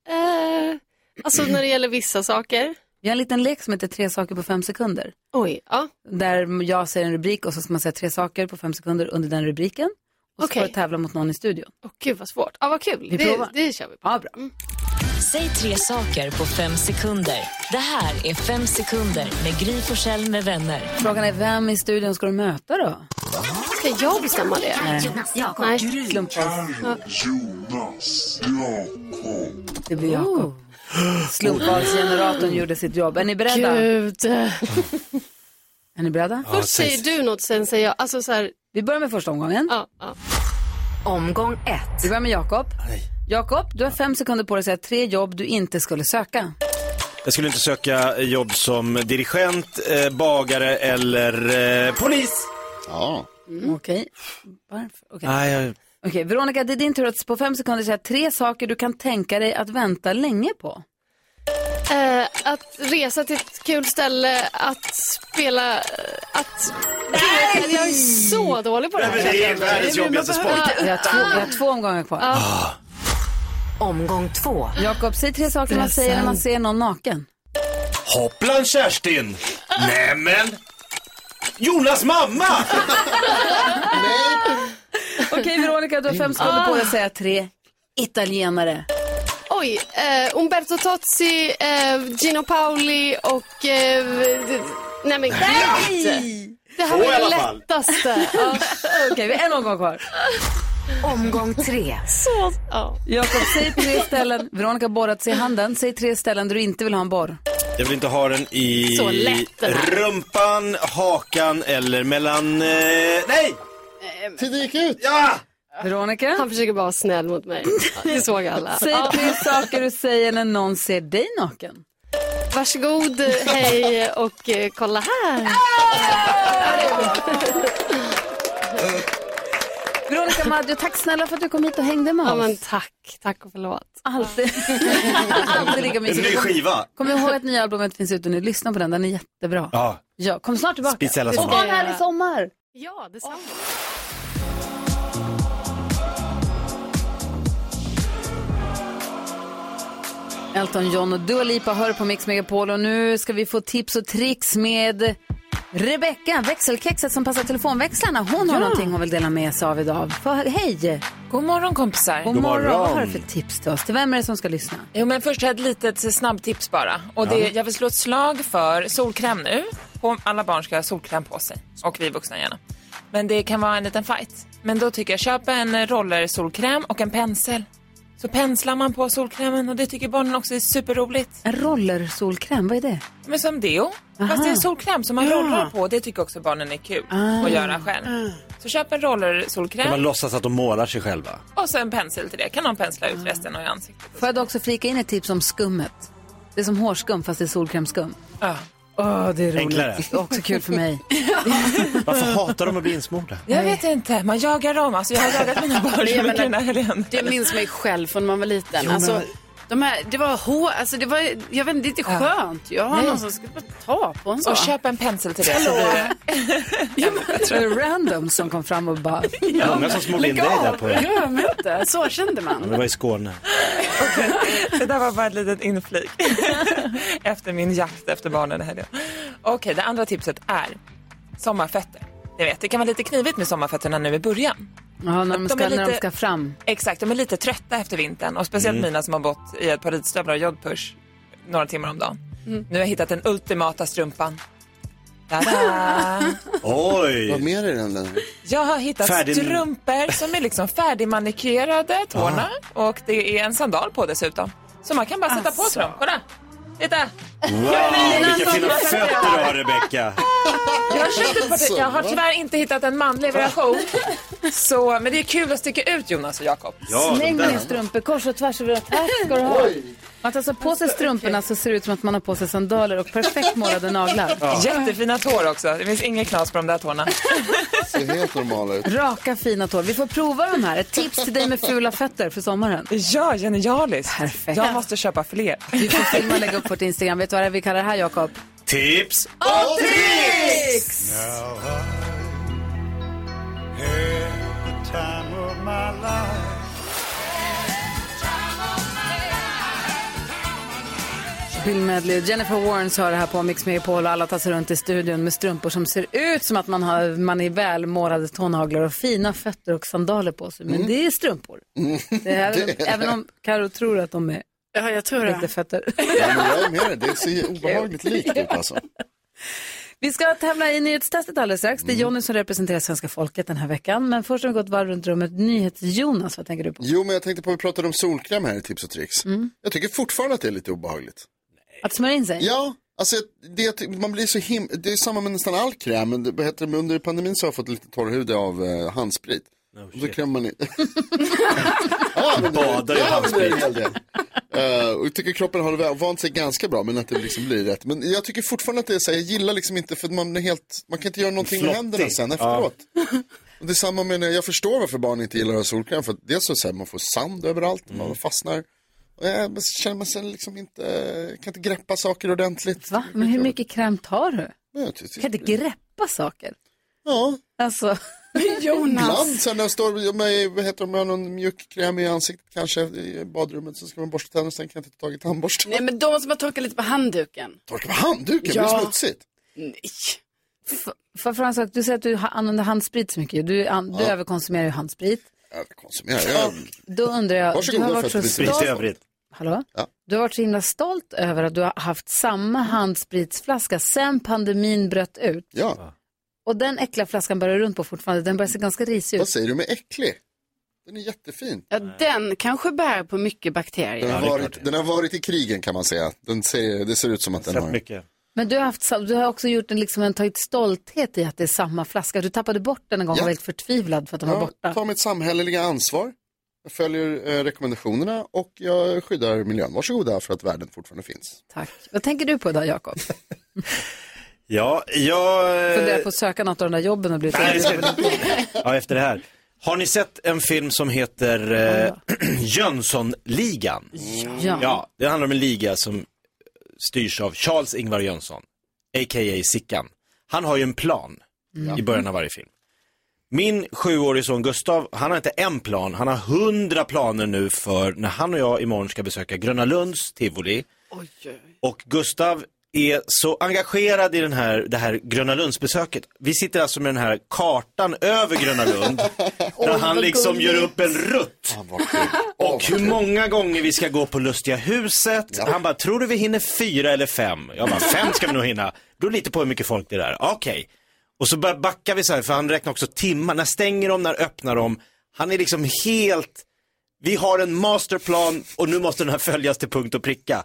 N: Eh, alltså när det gäller vissa saker.
A: Vi har en liten lek som heter tre saker på fem sekunder.
N: Oj, ja.
A: Där jag säger en rubrik och så ska man säga tre saker på fem sekunder under den rubriken. Och så får
N: Okej.
A: du tävla mot någon i studion.
N: Åh, gud vad svårt. Ja, vad kul.
A: Vi
N: det,
A: provar.
N: det kör vi på. Mm.
A: Ja, bra.
B: Säg tre saker på fem sekunder. Det här är Fem sekunder med Gry Forssell med vänner.
A: Frågan är vem i studion ska du möta då?
N: Ska jag bestämma det?
A: Nej.
N: Jakob. Nej. Ja.
G: Jonas, Jakob.
A: Det blir Jakob. Slumpvalsgeneratorn gjorde sitt jobb. Är ni beredda?
N: Gud.
A: Är ni beredda?
N: Först säger du något, sen säger jag. Alltså så här.
A: Vi börjar med första omgången.
N: Ja, ja.
A: Omgång ett. Vi börjar med Jakob. Jakob, du har fem sekunder på dig att säga tre jobb du inte skulle söka.
E: Jag skulle inte söka jobb som dirigent, eh, bagare eller eh, polis.
C: Ja.
A: Okej. Varför? Okej.
E: Nej, jag...
A: Okej, Veronica, det är din tur att på fem sekunder säga tre saker du kan tänka dig att vänta länge på.
N: Eh, att resa till ett kul ställe, att spela, eh, att... Nej! Jag är så dålig på det här.
G: Det är världens jobbigaste sport.
A: Vi har två, vi har två omgångar kvar.
B: Omgång två.
A: Jakob, säg tre saker man säger när man ser någon naken.
E: Hopplan Kerstin! Nämen! Jonas mamma!
A: Okej, Veronica, du har fem sekunder på dig att säga tre italienare.
N: Oj, eh, Umberto Tozzi, eh, Gino Paoli och... Eh, d- nej men gud! Det här
A: Två
N: var
A: i alla
N: det
A: fall.
N: lättaste. Ja.
A: Okej, vi har en omgång kvar.
B: Omgång tre.
N: Så, ja.
A: Jakob, säg tre ställen. Veronica har borrat sig i handen. Säg tre ställen där du inte vill ha en borr.
C: Eh,
E: Jag vill inte ha den i
A: Så lätt, den här.
E: rumpan, hakan eller mellan... Eh, nej!
C: Tiden gick ut.
E: Ja!
A: Veronica?
N: Ehm. Han försöker bara vara snäll mot mig. Ja, Det såg alla.
A: Säg
N: Ja.
A: tre saker du säger när någon ser dig naken.
N: Varsågod, hej och eh, kolla här.
A: Veronica Maggio, tack snälla för att du kom hit och hängde med oss.
N: Ja, men tack, tack och förlåt.
A: Alltid. Alltid lika
E: En
A: mysigt.
E: ny skiva.
A: Kom ihåg att nya albumet finns ute nu. Lyssna på den, den är jättebra.
E: Ja.
A: Ja, kom snart tillbaka.
E: Speciella
A: och
E: sommar.
A: ha en härlig sommar.
N: Ja, detsamma.
A: Elton John och Dua Lipa hör på Mix Megapol och nu ska vi få tips och tricks med Rebecka, växelkexet som passar telefonväxlarna. Hon har någonting hon vill dela med sig av idag. För, hej!
O: God morgon kompisar.
A: God morgon. Vad har du för tips till oss? Till vem är det som ska lyssna?
O: Jo, men först har jag ett litet snabbtips bara. Och det,
A: Ja.
O: Jag vill slå ett slag för solkräm nu. På- Alla barn ska ha solkräm på sig och vi vuxna gärna. Men det kan vara en liten fight. Men då tycker jag köp en roller solkräm och en pensel. Så penslar man på solkrämen och det tycker barnen också är superroligt.
A: En roller solkräm, vad är det?
O: Men som deo.
A: Aha.
O: Fast det är solkräm som man
A: Ja.
O: rollar på. Det tycker också barnen är kul
E: Ah.
O: att göra själv. Så köp en roller
E: Där man
O: solkräm
E: låtsas att de målar sig själva.
O: och så en pensel till det. Kan någon pensla ut resten av i ansiktet.
A: Får jag då också flika in ett tips om skummet? Det är som hårskum fast det är solkrämskum.
O: Ja.
A: Åh, det är roligt.
E: Enklare.
A: Också kul för mig.
E: Varför hatar de att bli insmorda?
O: Jag vet inte, man jagar dem. Alltså, jag har jagat mina barn
D: Jag
O: så mycket
D: menar,
O: den här helgen.
D: Det minns mig själv från när man var liten.
O: Jo, men-
D: alltså, de här, det var hår, alltså det var, jag vet inte, det är inte
O: Ja.
D: skönt. Jag har
O: Nej.
D: någon som ska bara ta på en sån.
O: Och köp en pensel till det så blir det...
A: Jag tror det är random som kom fram och bara...
E: Många som smorde in dig där på-
D: Gör mig inte, så kände
E: Ja,
D: man.
E: men Det var i Skåne.
O: Det där var bara ett litet inflik efter min jakt efter barnen i helgen. Okej, det andra tipset är sommarfötter. Ni vet, det kan vara lite knivigt med sommarfötterna nu i början.
A: Ja, när de
O: De
A: ska,
O: är
A: när de
O: lite-
A: ska fram.
O: Exakt, de är lite trötta efter vintern och speciellt
A: Mm.
O: mina som har bott i ett par ridstövlar och jodpush några timmar om dagen.
D: Mm.
O: Nu har jag hittat den ultimata strumpan. Ta-da!
E: Oj!
C: Vad mer är den där?
O: Jag har hittat
C: Färdig-
O: strumpor som är liksom färdigmanikerade, tårna och det är en sandal på dessutom. Så man kan bara sätta på sig dem. Kolla! Titta!
E: Wow, vilka fina fötter du har Rebecka!
O: Jag, köpte på det. jag har tyvärr inte hittat en manlig version. Så, men det är kul att sticka ut Jonas och Jakob.
A: Släng med strumpor kors och tvärs över att här ska du ha. Man tar alltså på sig strumporna så ser det ut som att man har på sig sandaler och perfekt målade naglar.
O: Jättefina tår också. Det finns inget knas på de där tårna.
C: Ser helt normal ut.
A: Raka fina tår. Vi får prova de här. Ett tips till dig med fula fötter för sommaren.
O: Ja, genialiskt.
A: Perfekt.
O: Jag måste köpa fler.
A: Vi får filma och lägga upp på Instagram. Vet du vad vi kallar det här, Jakob?
E: Tips!
A: Och
G: tricks!
P: Now I had the time of my life.
A: Bill Medley och Jennifer Warrens hör det här på Mix Megapol och alla tassar runt i studion med strumpor som ser ut som att man, har, man är välmålade tånaglar och fina fötter och sandaler på sig. Men
D: Mm.
A: det är strumpor. Det är,
D: Det är det.
A: Även om Karo tror att de är
D: Ja, jag tror
A: riktiga
D: det.
A: fötter.
C: Ja, men jag är med dig. Det ser obehagligt likt ut alltså.
A: Vi ska tävla i nyhetstestet alldeles strax. Det är Jonny som representerar svenska folket den här veckan. Men först har vi gått varv runt rummet. Nyhets-Jonas, vad tänker du på?
C: Jo, men jag tänkte på att vi pratade om solkräm här i Tips och Tricks.
A: Mm.
C: Jag tycker fortfarande att det är lite obehagligt.
A: Att smörja in sig?
C: Ja, alltså det, man blir så him... Det är samma med nästan all kräm. Men det, vad heter det? Men under pandemin så har jag fått lite torr hud av eh, handsprit.
E: Oh,
C: och då krämmer man i... ja, men det-
E: Badar i
C: ja, men det är en
E: handsprit.
C: hel del. Eh, och jag tycker kroppen har väl vant sig ganska bra men att det liksom blir rätt. Men jag tycker fortfarande att det är så här, jag gillar liksom inte för att man är helt, man kan inte göra någonting med
E: Flottig.
C: händerna sen
E: Ja.
C: efteråt. Och det är samma med, när jag förstår varför barn inte gillar att ha solkräm för att dels så, så här, man får sand överallt,
E: Mm.
C: man fastnar. Och jag men så känner man sig liksom inte, kan inte greppa saker ordentligt.
A: Va? Men hur mycket kräm tar du?
C: Nej, jag
A: Du
C: tycker-
A: kan inte greppa saker.
C: Ja.
A: Alltså.
C: Ibland sen när jag står med, vad heter det, om jag har någon mjuk kräm i ansiktet kanske i badrummet så ska man borsta tänderna sen kan jag inte ta tag i tandborsten.
D: Nej, men då måste man torka lite på handduken.
C: Torka på handduken,
D: Ja.
C: det är smutsigt.
D: Nej.
A: F- För för en sak, du säger att du ha- använder handsprit så mycket. Du, an, du
C: Ja.
A: överkonsumerar ju handsprit.
C: Överkonsumerar, jag-
A: Då undrar jag,
C: Varsågoda
A: du har
C: för
A: varit
C: att
A: så
C: det blir
A: stolt.
C: sprit i övrigt.
A: Hallå?
C: Ja.
A: Du har varit så himla stolt över att du har haft samma handspritsflaska sen pandemin bröt ut.
C: Ja.
A: Och den äckliga flaskan börjar runt på fortfarande. Den börjar se ganska risig ut.
C: Vad säger du med äcklig? Den är jättefin.
D: Ja, den kanske bär på mycket bakterier.
C: Den har, varit, den har varit i krigen kan man säga. Den ser, det ser ut som att den har...
E: mycket.
A: Men du har, haft, sam- du har också gjort en, liksom en tagit stolthet i att det är samma flaska. Du tappade bort den en gång och
C: Ja.
A: var helt förtvivlad för att den var
C: Jag
A: borta.
C: tar mitt samhälleliga ansvar. Jag följer eh, rekommendationerna och jag skyddar miljön. Varsågoda för att världen fortfarande finns.
A: Tack. Vad tänker du på idag, Jakob?
E: Ja, jag... eh,
A: Funderar på att söka något av de där jobben och bli
E: Nej, det ska
A: utesluten?
E: vi inte. Ja, efter det här. Har ni sett en film som heter eh, Jönssonligan?
A: Ja.
E: ja. Det handlar om en liga som styrs av Charles Ingvar Jönsson, a.k.a. Sickan. Han har ju en plan
J: Mm.
E: i början av varje film. Min sjuårige son Gustav, han har inte en plan, han har hundra planer nu för när han och jag imorgon ska besöka Gröna Lunds tivoli. Och Gustav är så engagerad i den här, det här Gröna Lundsbesöket. Vi sitter alltså med den här kartan över Gröna Lund. där
J: Åh,
E: han
J: vad
E: liksom
J: gulligt.
E: gör upp en
G: Ah,
E: rutt. Och hur många gånger vi ska gå på Lustiga huset. Han bara, tror du vi hinner fyra eller fem? Jag bara, fem ska vi nog hinna. Då lite på hur mycket folk det är. Okej. Och så börjar backa vi så här, för han räknar också timmar. När stänger de, när öppnar de? Han är liksom helt, vi har en masterplan och nu måste den här följas till punkt och pricka.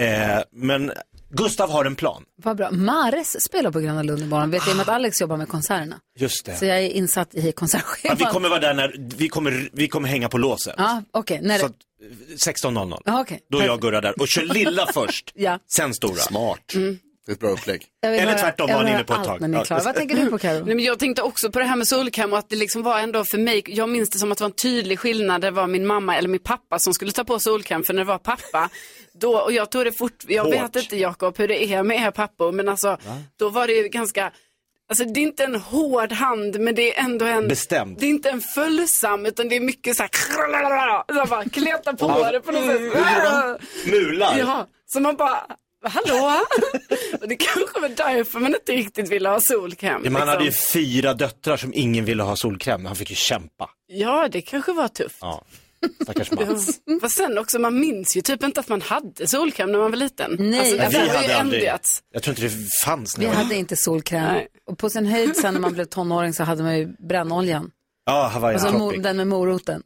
E: Eh, men Gustav har en plan.
A: Vad bra. Mares spelar på Gröna Lund imorgon. Vet jag i och med att Alex jobbar med konserterna.
E: Just det.
A: Så jag är insatt i
E: Ja,
A: konsertschemat.
E: vi kommer vara där när, vi kommer, vi kommer hänga på låset.
A: Ja, okej. När
E: Så
A: det...
E: att, eh, 16.00.
A: Ja, okej.
E: Då är jag och Gurra där och kör lilla först,
A: Ja.
E: sen stora.
C: Smart.
A: Mm.
C: Det är ett bra upplägg.
A: Jag vill höra- jag vill höra allt När ni är
C: Ja.
A: klara. Vad tänker du på Karo?
D: Nej, men jag tänkte också på det här med solkräm och att det liksom var ändå för mig, jag minns det som att det var en tydlig skillnad, det var min mamma eller min pappa som skulle ta på solkräm för när det var pappa, då, och jag tror det fort, jag
A: Hårt.
D: vet inte Jakob hur det är med er pappor, men alltså då var det ju ganska, alltså det är inte en hård hand men det är ändå en
E: Bestämd.
D: Det är inte en följsam utan det är mycket så här, så här bara kleta på det på något sätt.
E: Mular.
D: Ja, så man bara, hallå? och det kanske var därför man inte riktigt ville ha solkräm.
E: Ja, men han
D: liksom.
E: hade ju fyra döttrar som ingen ville ha solkräm. Han fick ju kämpa.
D: Ja, det kanske var tufft.
E: Ja. Stackars Mats.
D: Fast sen också, man minns ju typ inte att man hade solkräm när man var liten.
A: Nej.
D: alltså, det
E: vi
D: har ju
E: hade aldrig.
D: ändrats.
E: Jag tror inte det fanns
A: Vi
E: när jag var-
A: hade inte solkräm.
D: Nej.
A: Och på sin höjd sen när man blev tonåring så hade man ju brännoljan.
E: Ja, Hawaii
A: Alltså mo-
E: Tropic.
A: den med moroten.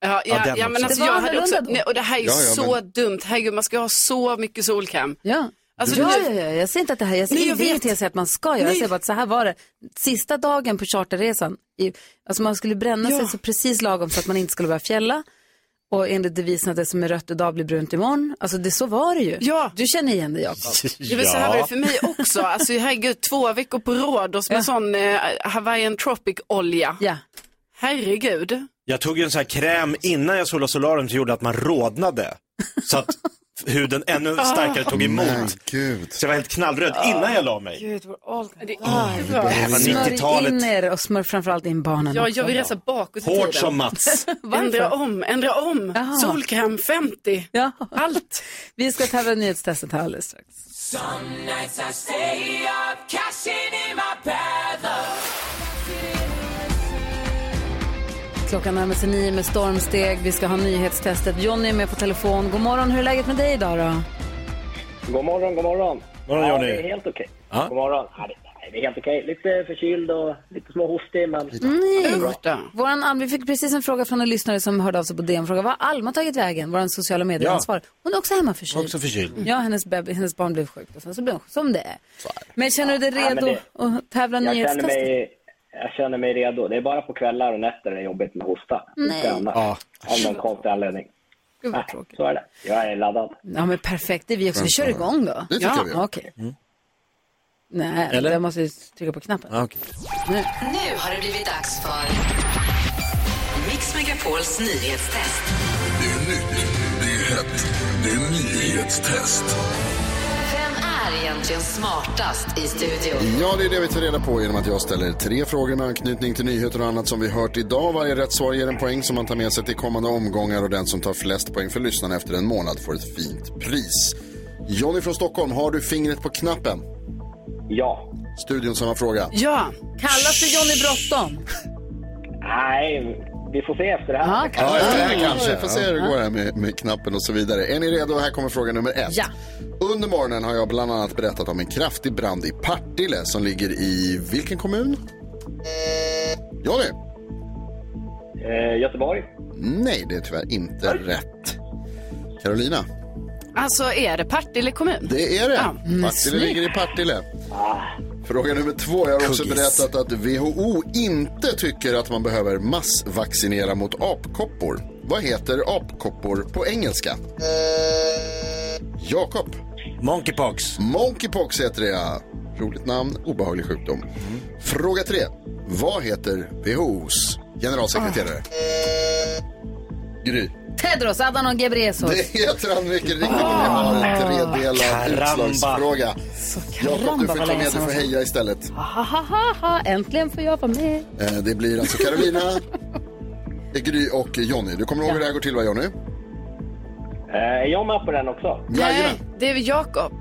D: Ja,
A: Ja,
D: ja,
A: den
D: ja, men
A: också.
D: alltså
A: Det var
D: jag hade också,
A: annorlunda då.
D: nej, och det här är ju
A: Ja, ja,
D: så dumt, herregud man ska ha så mycket solkräm.
A: Ja.
D: Alltså,
A: ja,
D: nu-
A: ja, ja, jag säger inte att det här, jag säger
D: Nej, jag
A: inte
D: vet.
A: ingenting jag säger att man ska göra. Jag
D: Nej.
A: säger bara att så här var det. Sista dagen på charterresan, i, alltså man skulle bränna sig så precis lagom så att man inte skulle börja fjälla. Och enligt devisen att det som är rött idag blir brunt imorgon. Alltså det, så var det ju. Ja. Du känner igen det Jakob.
D: Ja. men Så här var det för mig också. Alltså herregud, två veckor på Rhodos med sån eh, Hawaiian Tropic-olja.
A: Ja.
D: Herregud.
E: Jag tog ju en sån här kräm innan jag solade solarium som gjorde att man rodnade. Så att huden ännu starkare tog emot.
C: Men
E: Så jag var helt knallröd innan jag la mig.
D: Gud, vår ålder. Det
E: bra. Det här var
A: Smörj
E: 90-talet.
A: in er och smörj framförallt in barnen.
D: Ja, jag vill
A: också.
D: resa bakåt i
E: Hårt
D: tiden.
E: som Mats.
A: Varför?
D: ändra om, ändra om. Solkräm 50.
A: Ja.
D: Allt.
A: Vi ska tävla i nyhetstestet här alldeles strax.
G: Some nights I stay up, cashing in my brother.
A: Klockan närmar sig nio med stormsteg. Vi ska ha nyhetstestet. Johnny är med på telefon. God morgon, hur är läget med dig idag då?
J: God morgon, god morgon.
E: morgon,
J: ja,
E: Johnny.
J: det är helt okej.
E: Ja.
J: God morgon. Ja, det, nej, det är helt okej. Lite förkyld och lite småhostig, men...
A: Mm, Nej. Våran Alma, vi fick precis en fråga från en lyssnare som hörde av sig på DN fråga var har Alma tagit vägen? Våran sociala medieransvarig. Hon är också hemmaförkyld.
E: Också förkyld.
A: Ja, hennes, beb- hennes barn blev sjukt och sen så blev hon som det är. Men känner du dig
J: Ja, men
A: redo att tävla i
J: Jag känner,
A: nyhetstestet?
J: mig, jag känner mig redo. Det är bara på kvällar och nätter det är jobbigt med hosta.
A: Nej.
J: Inte annars. Av någon konstig anledning.
A: Gud, vad
J: Nej, så är det. Jag är laddad.
A: Ja, men perfekt. Det är vi också. Vi kör igång då.
J: Mm. Det tycker
A: ja,
J: jag vi gör. Mm.
A: Okej. Nej,
J: Eller?
A: jag måste ju trycka på knappen. Nu.
Q: Nu har det blivit dags för Mix Megapols nyhetstest.
G: Det är nytt, det är hett, det är nyhetstest.
Q: Vem är egentligen smartast i studion?
C: Ja, det är det vi tar reda på genom att jag ställer tre frågor med anknytning till nyheter och annat som vi hört idag. Varje rätt svar ger en poäng som man tar med sig till kommande omgångar och den som tar flest poäng för lyssnarna efter en månad får ett fint pris. Johnny från Stockholm, har du fingret på knappen?
J: Ja.
C: Studion samma fråga.
D: Ja.
A: Kallas du Johnny Bråttom?
J: Nej, vi får se efter det här.
A: Ja, kanske.
C: efter det här
J: Mm.
C: kanske. Vi får se hur det
J: Ja.
C: går här med, med knappen och så vidare. Är ni redo? Här kommer fråga nummer ett.
A: Ja.
C: Under morgonen har jag bland annat berättat om en kraftig brand i Partille som ligger i vilken kommun? Johnny?
J: Eh, Göteborg?
C: Nej, det är tyvärr inte rätt. Carolina?
D: Alltså är det Partille kommun?
C: Det är det.
D: Ja.
C: Partille ligger i Partille. Fråga nummer två. Jag har också
J: Kuggis.
C: berättat att WHO inte tycker att man behöver massvaccinera mot apkoppor. Vad heter apkoppor på engelska? Jakob.
E: Monkeypox.
C: Monkeypox heter det, ja. Roligt namn, obehaglig sjukdom. Fråga tre. Vad heter WHOs generalsekreterare?
A: Ah.
C: Gry.
A: Tedros Adhanom Ghebreyesus.
C: Det heter han mycket riktigt. Vi har en tredelad
E: Karamba.
C: utslagsfråga. Jakob,
A: Ah.
C: du
A: karamba
C: får
A: vad
C: klunga, du
A: ledsen
C: får
A: jag
C: heja istället.
A: Ha, ha, ha, ha. Äntligen får jag vara med.
C: Eh, Det blir alltså Carolina, Gry och Jonny. Du kommer ihåg hur det här går till, va Jonny?
J: Är jag med på den också?
C: Jajamän.
D: Det är väl Jakob?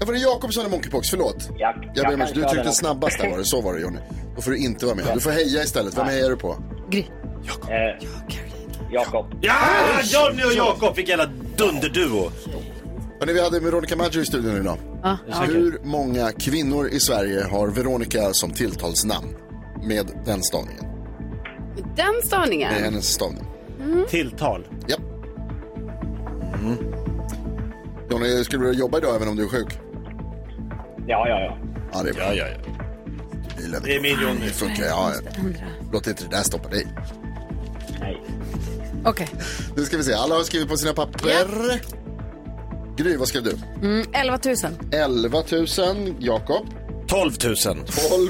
C: Ja, var det Jakob som hade monkeypox? Förlåt.
J: Jag,
C: Jag ber om
J: kan
C: ursäkt. Du
J: köra
C: tryckte
J: den.
C: snabbast där var det. Så var det Jonny. Då får du inte vara med. Du får heja istället. Vem hejar du på?
A: Gry.
J: Eh, Jakob.
E: Ja, Johnny och Jakob fick jävla dunderduo.
C: Hörrni, vi hade Veronica Maggio i studion idag.
A: Ja.
C: Hur många kvinnor i Sverige har Veronica som tilltalsnamn? Med den stavningen.
D: Den
C: Med
D: stavningen?
C: hennes stavning.
D: Mm.
E: Tilltal.
C: Ja. Mm. Johnny, skulle du jobba idag även om du är sjuk?
J: Ja, ja, ja.
C: Ja, det är bra. Bilen.
E: Det är min Johnny.
C: Det funkar, ja. Låt inte det där stoppa dig.
J: Nej.
A: Okej.
C: Nu ska vi se. Alla har skrivit på sina papper. Gry, vad skrev du?
A: Mm, 11 000.
C: 11 000. Jakob?
E: 12 000.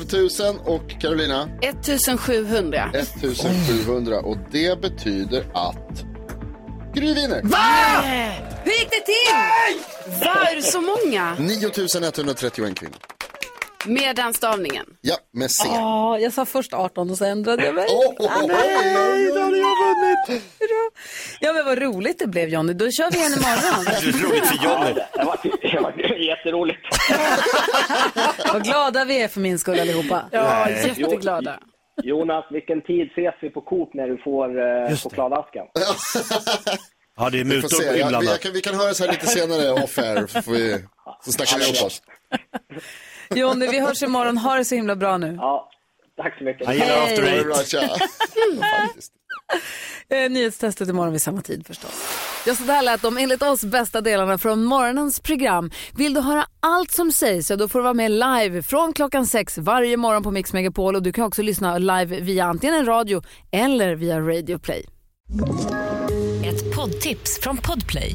C: 12 000. Och Carolina?
D: 1700.
C: 1700. Och det betyder att Gry vinner.
A: Va? Hur gick det till?
D: Va, är det så många?
C: 9131 kvinnor.
D: Med den stavningen.
C: Ja, med C.
A: Ja, jag sa först 18 och sen ändrade jag mig. Ah, nej, då hade jag vunnit. Hurra. Ja, men vad roligt det blev Johnny. Då kör vi igen imorgon.
E: Roligt för Johnny.
J: Det var, det var jätteroligt.
A: vad glada vi är för min skull allihopa.
J: Ja, Nej. jätteglada. Jonas, vilken tid ses vi på Coop när du får eh, chokladaskan?
E: Ja, det är
C: Vi får
E: mutor
C: se. Ja, vi, jag
E: inblandat.
C: kan, vi kan höras här lite senare off air. Så, får vi, så snackar vi upp oss.
A: Johnny, vi hörs imorgon. Ha det så himla bra nu.
J: Ja, tack så mycket.
C: Jag gillar After Eight.
A: Mm. Eh, Nyhetstestet imorgon vid samma tid förstås. Ja, så där lät de enligt oss bästa delarna från morgonens program. Vill du höra allt som sägs så då får du vara med live från klockan sex varje morgon på Mix Megapol och du kan också lyssna live via antingen en radio eller via Radio Play.
F: Ett poddtips från Podplay.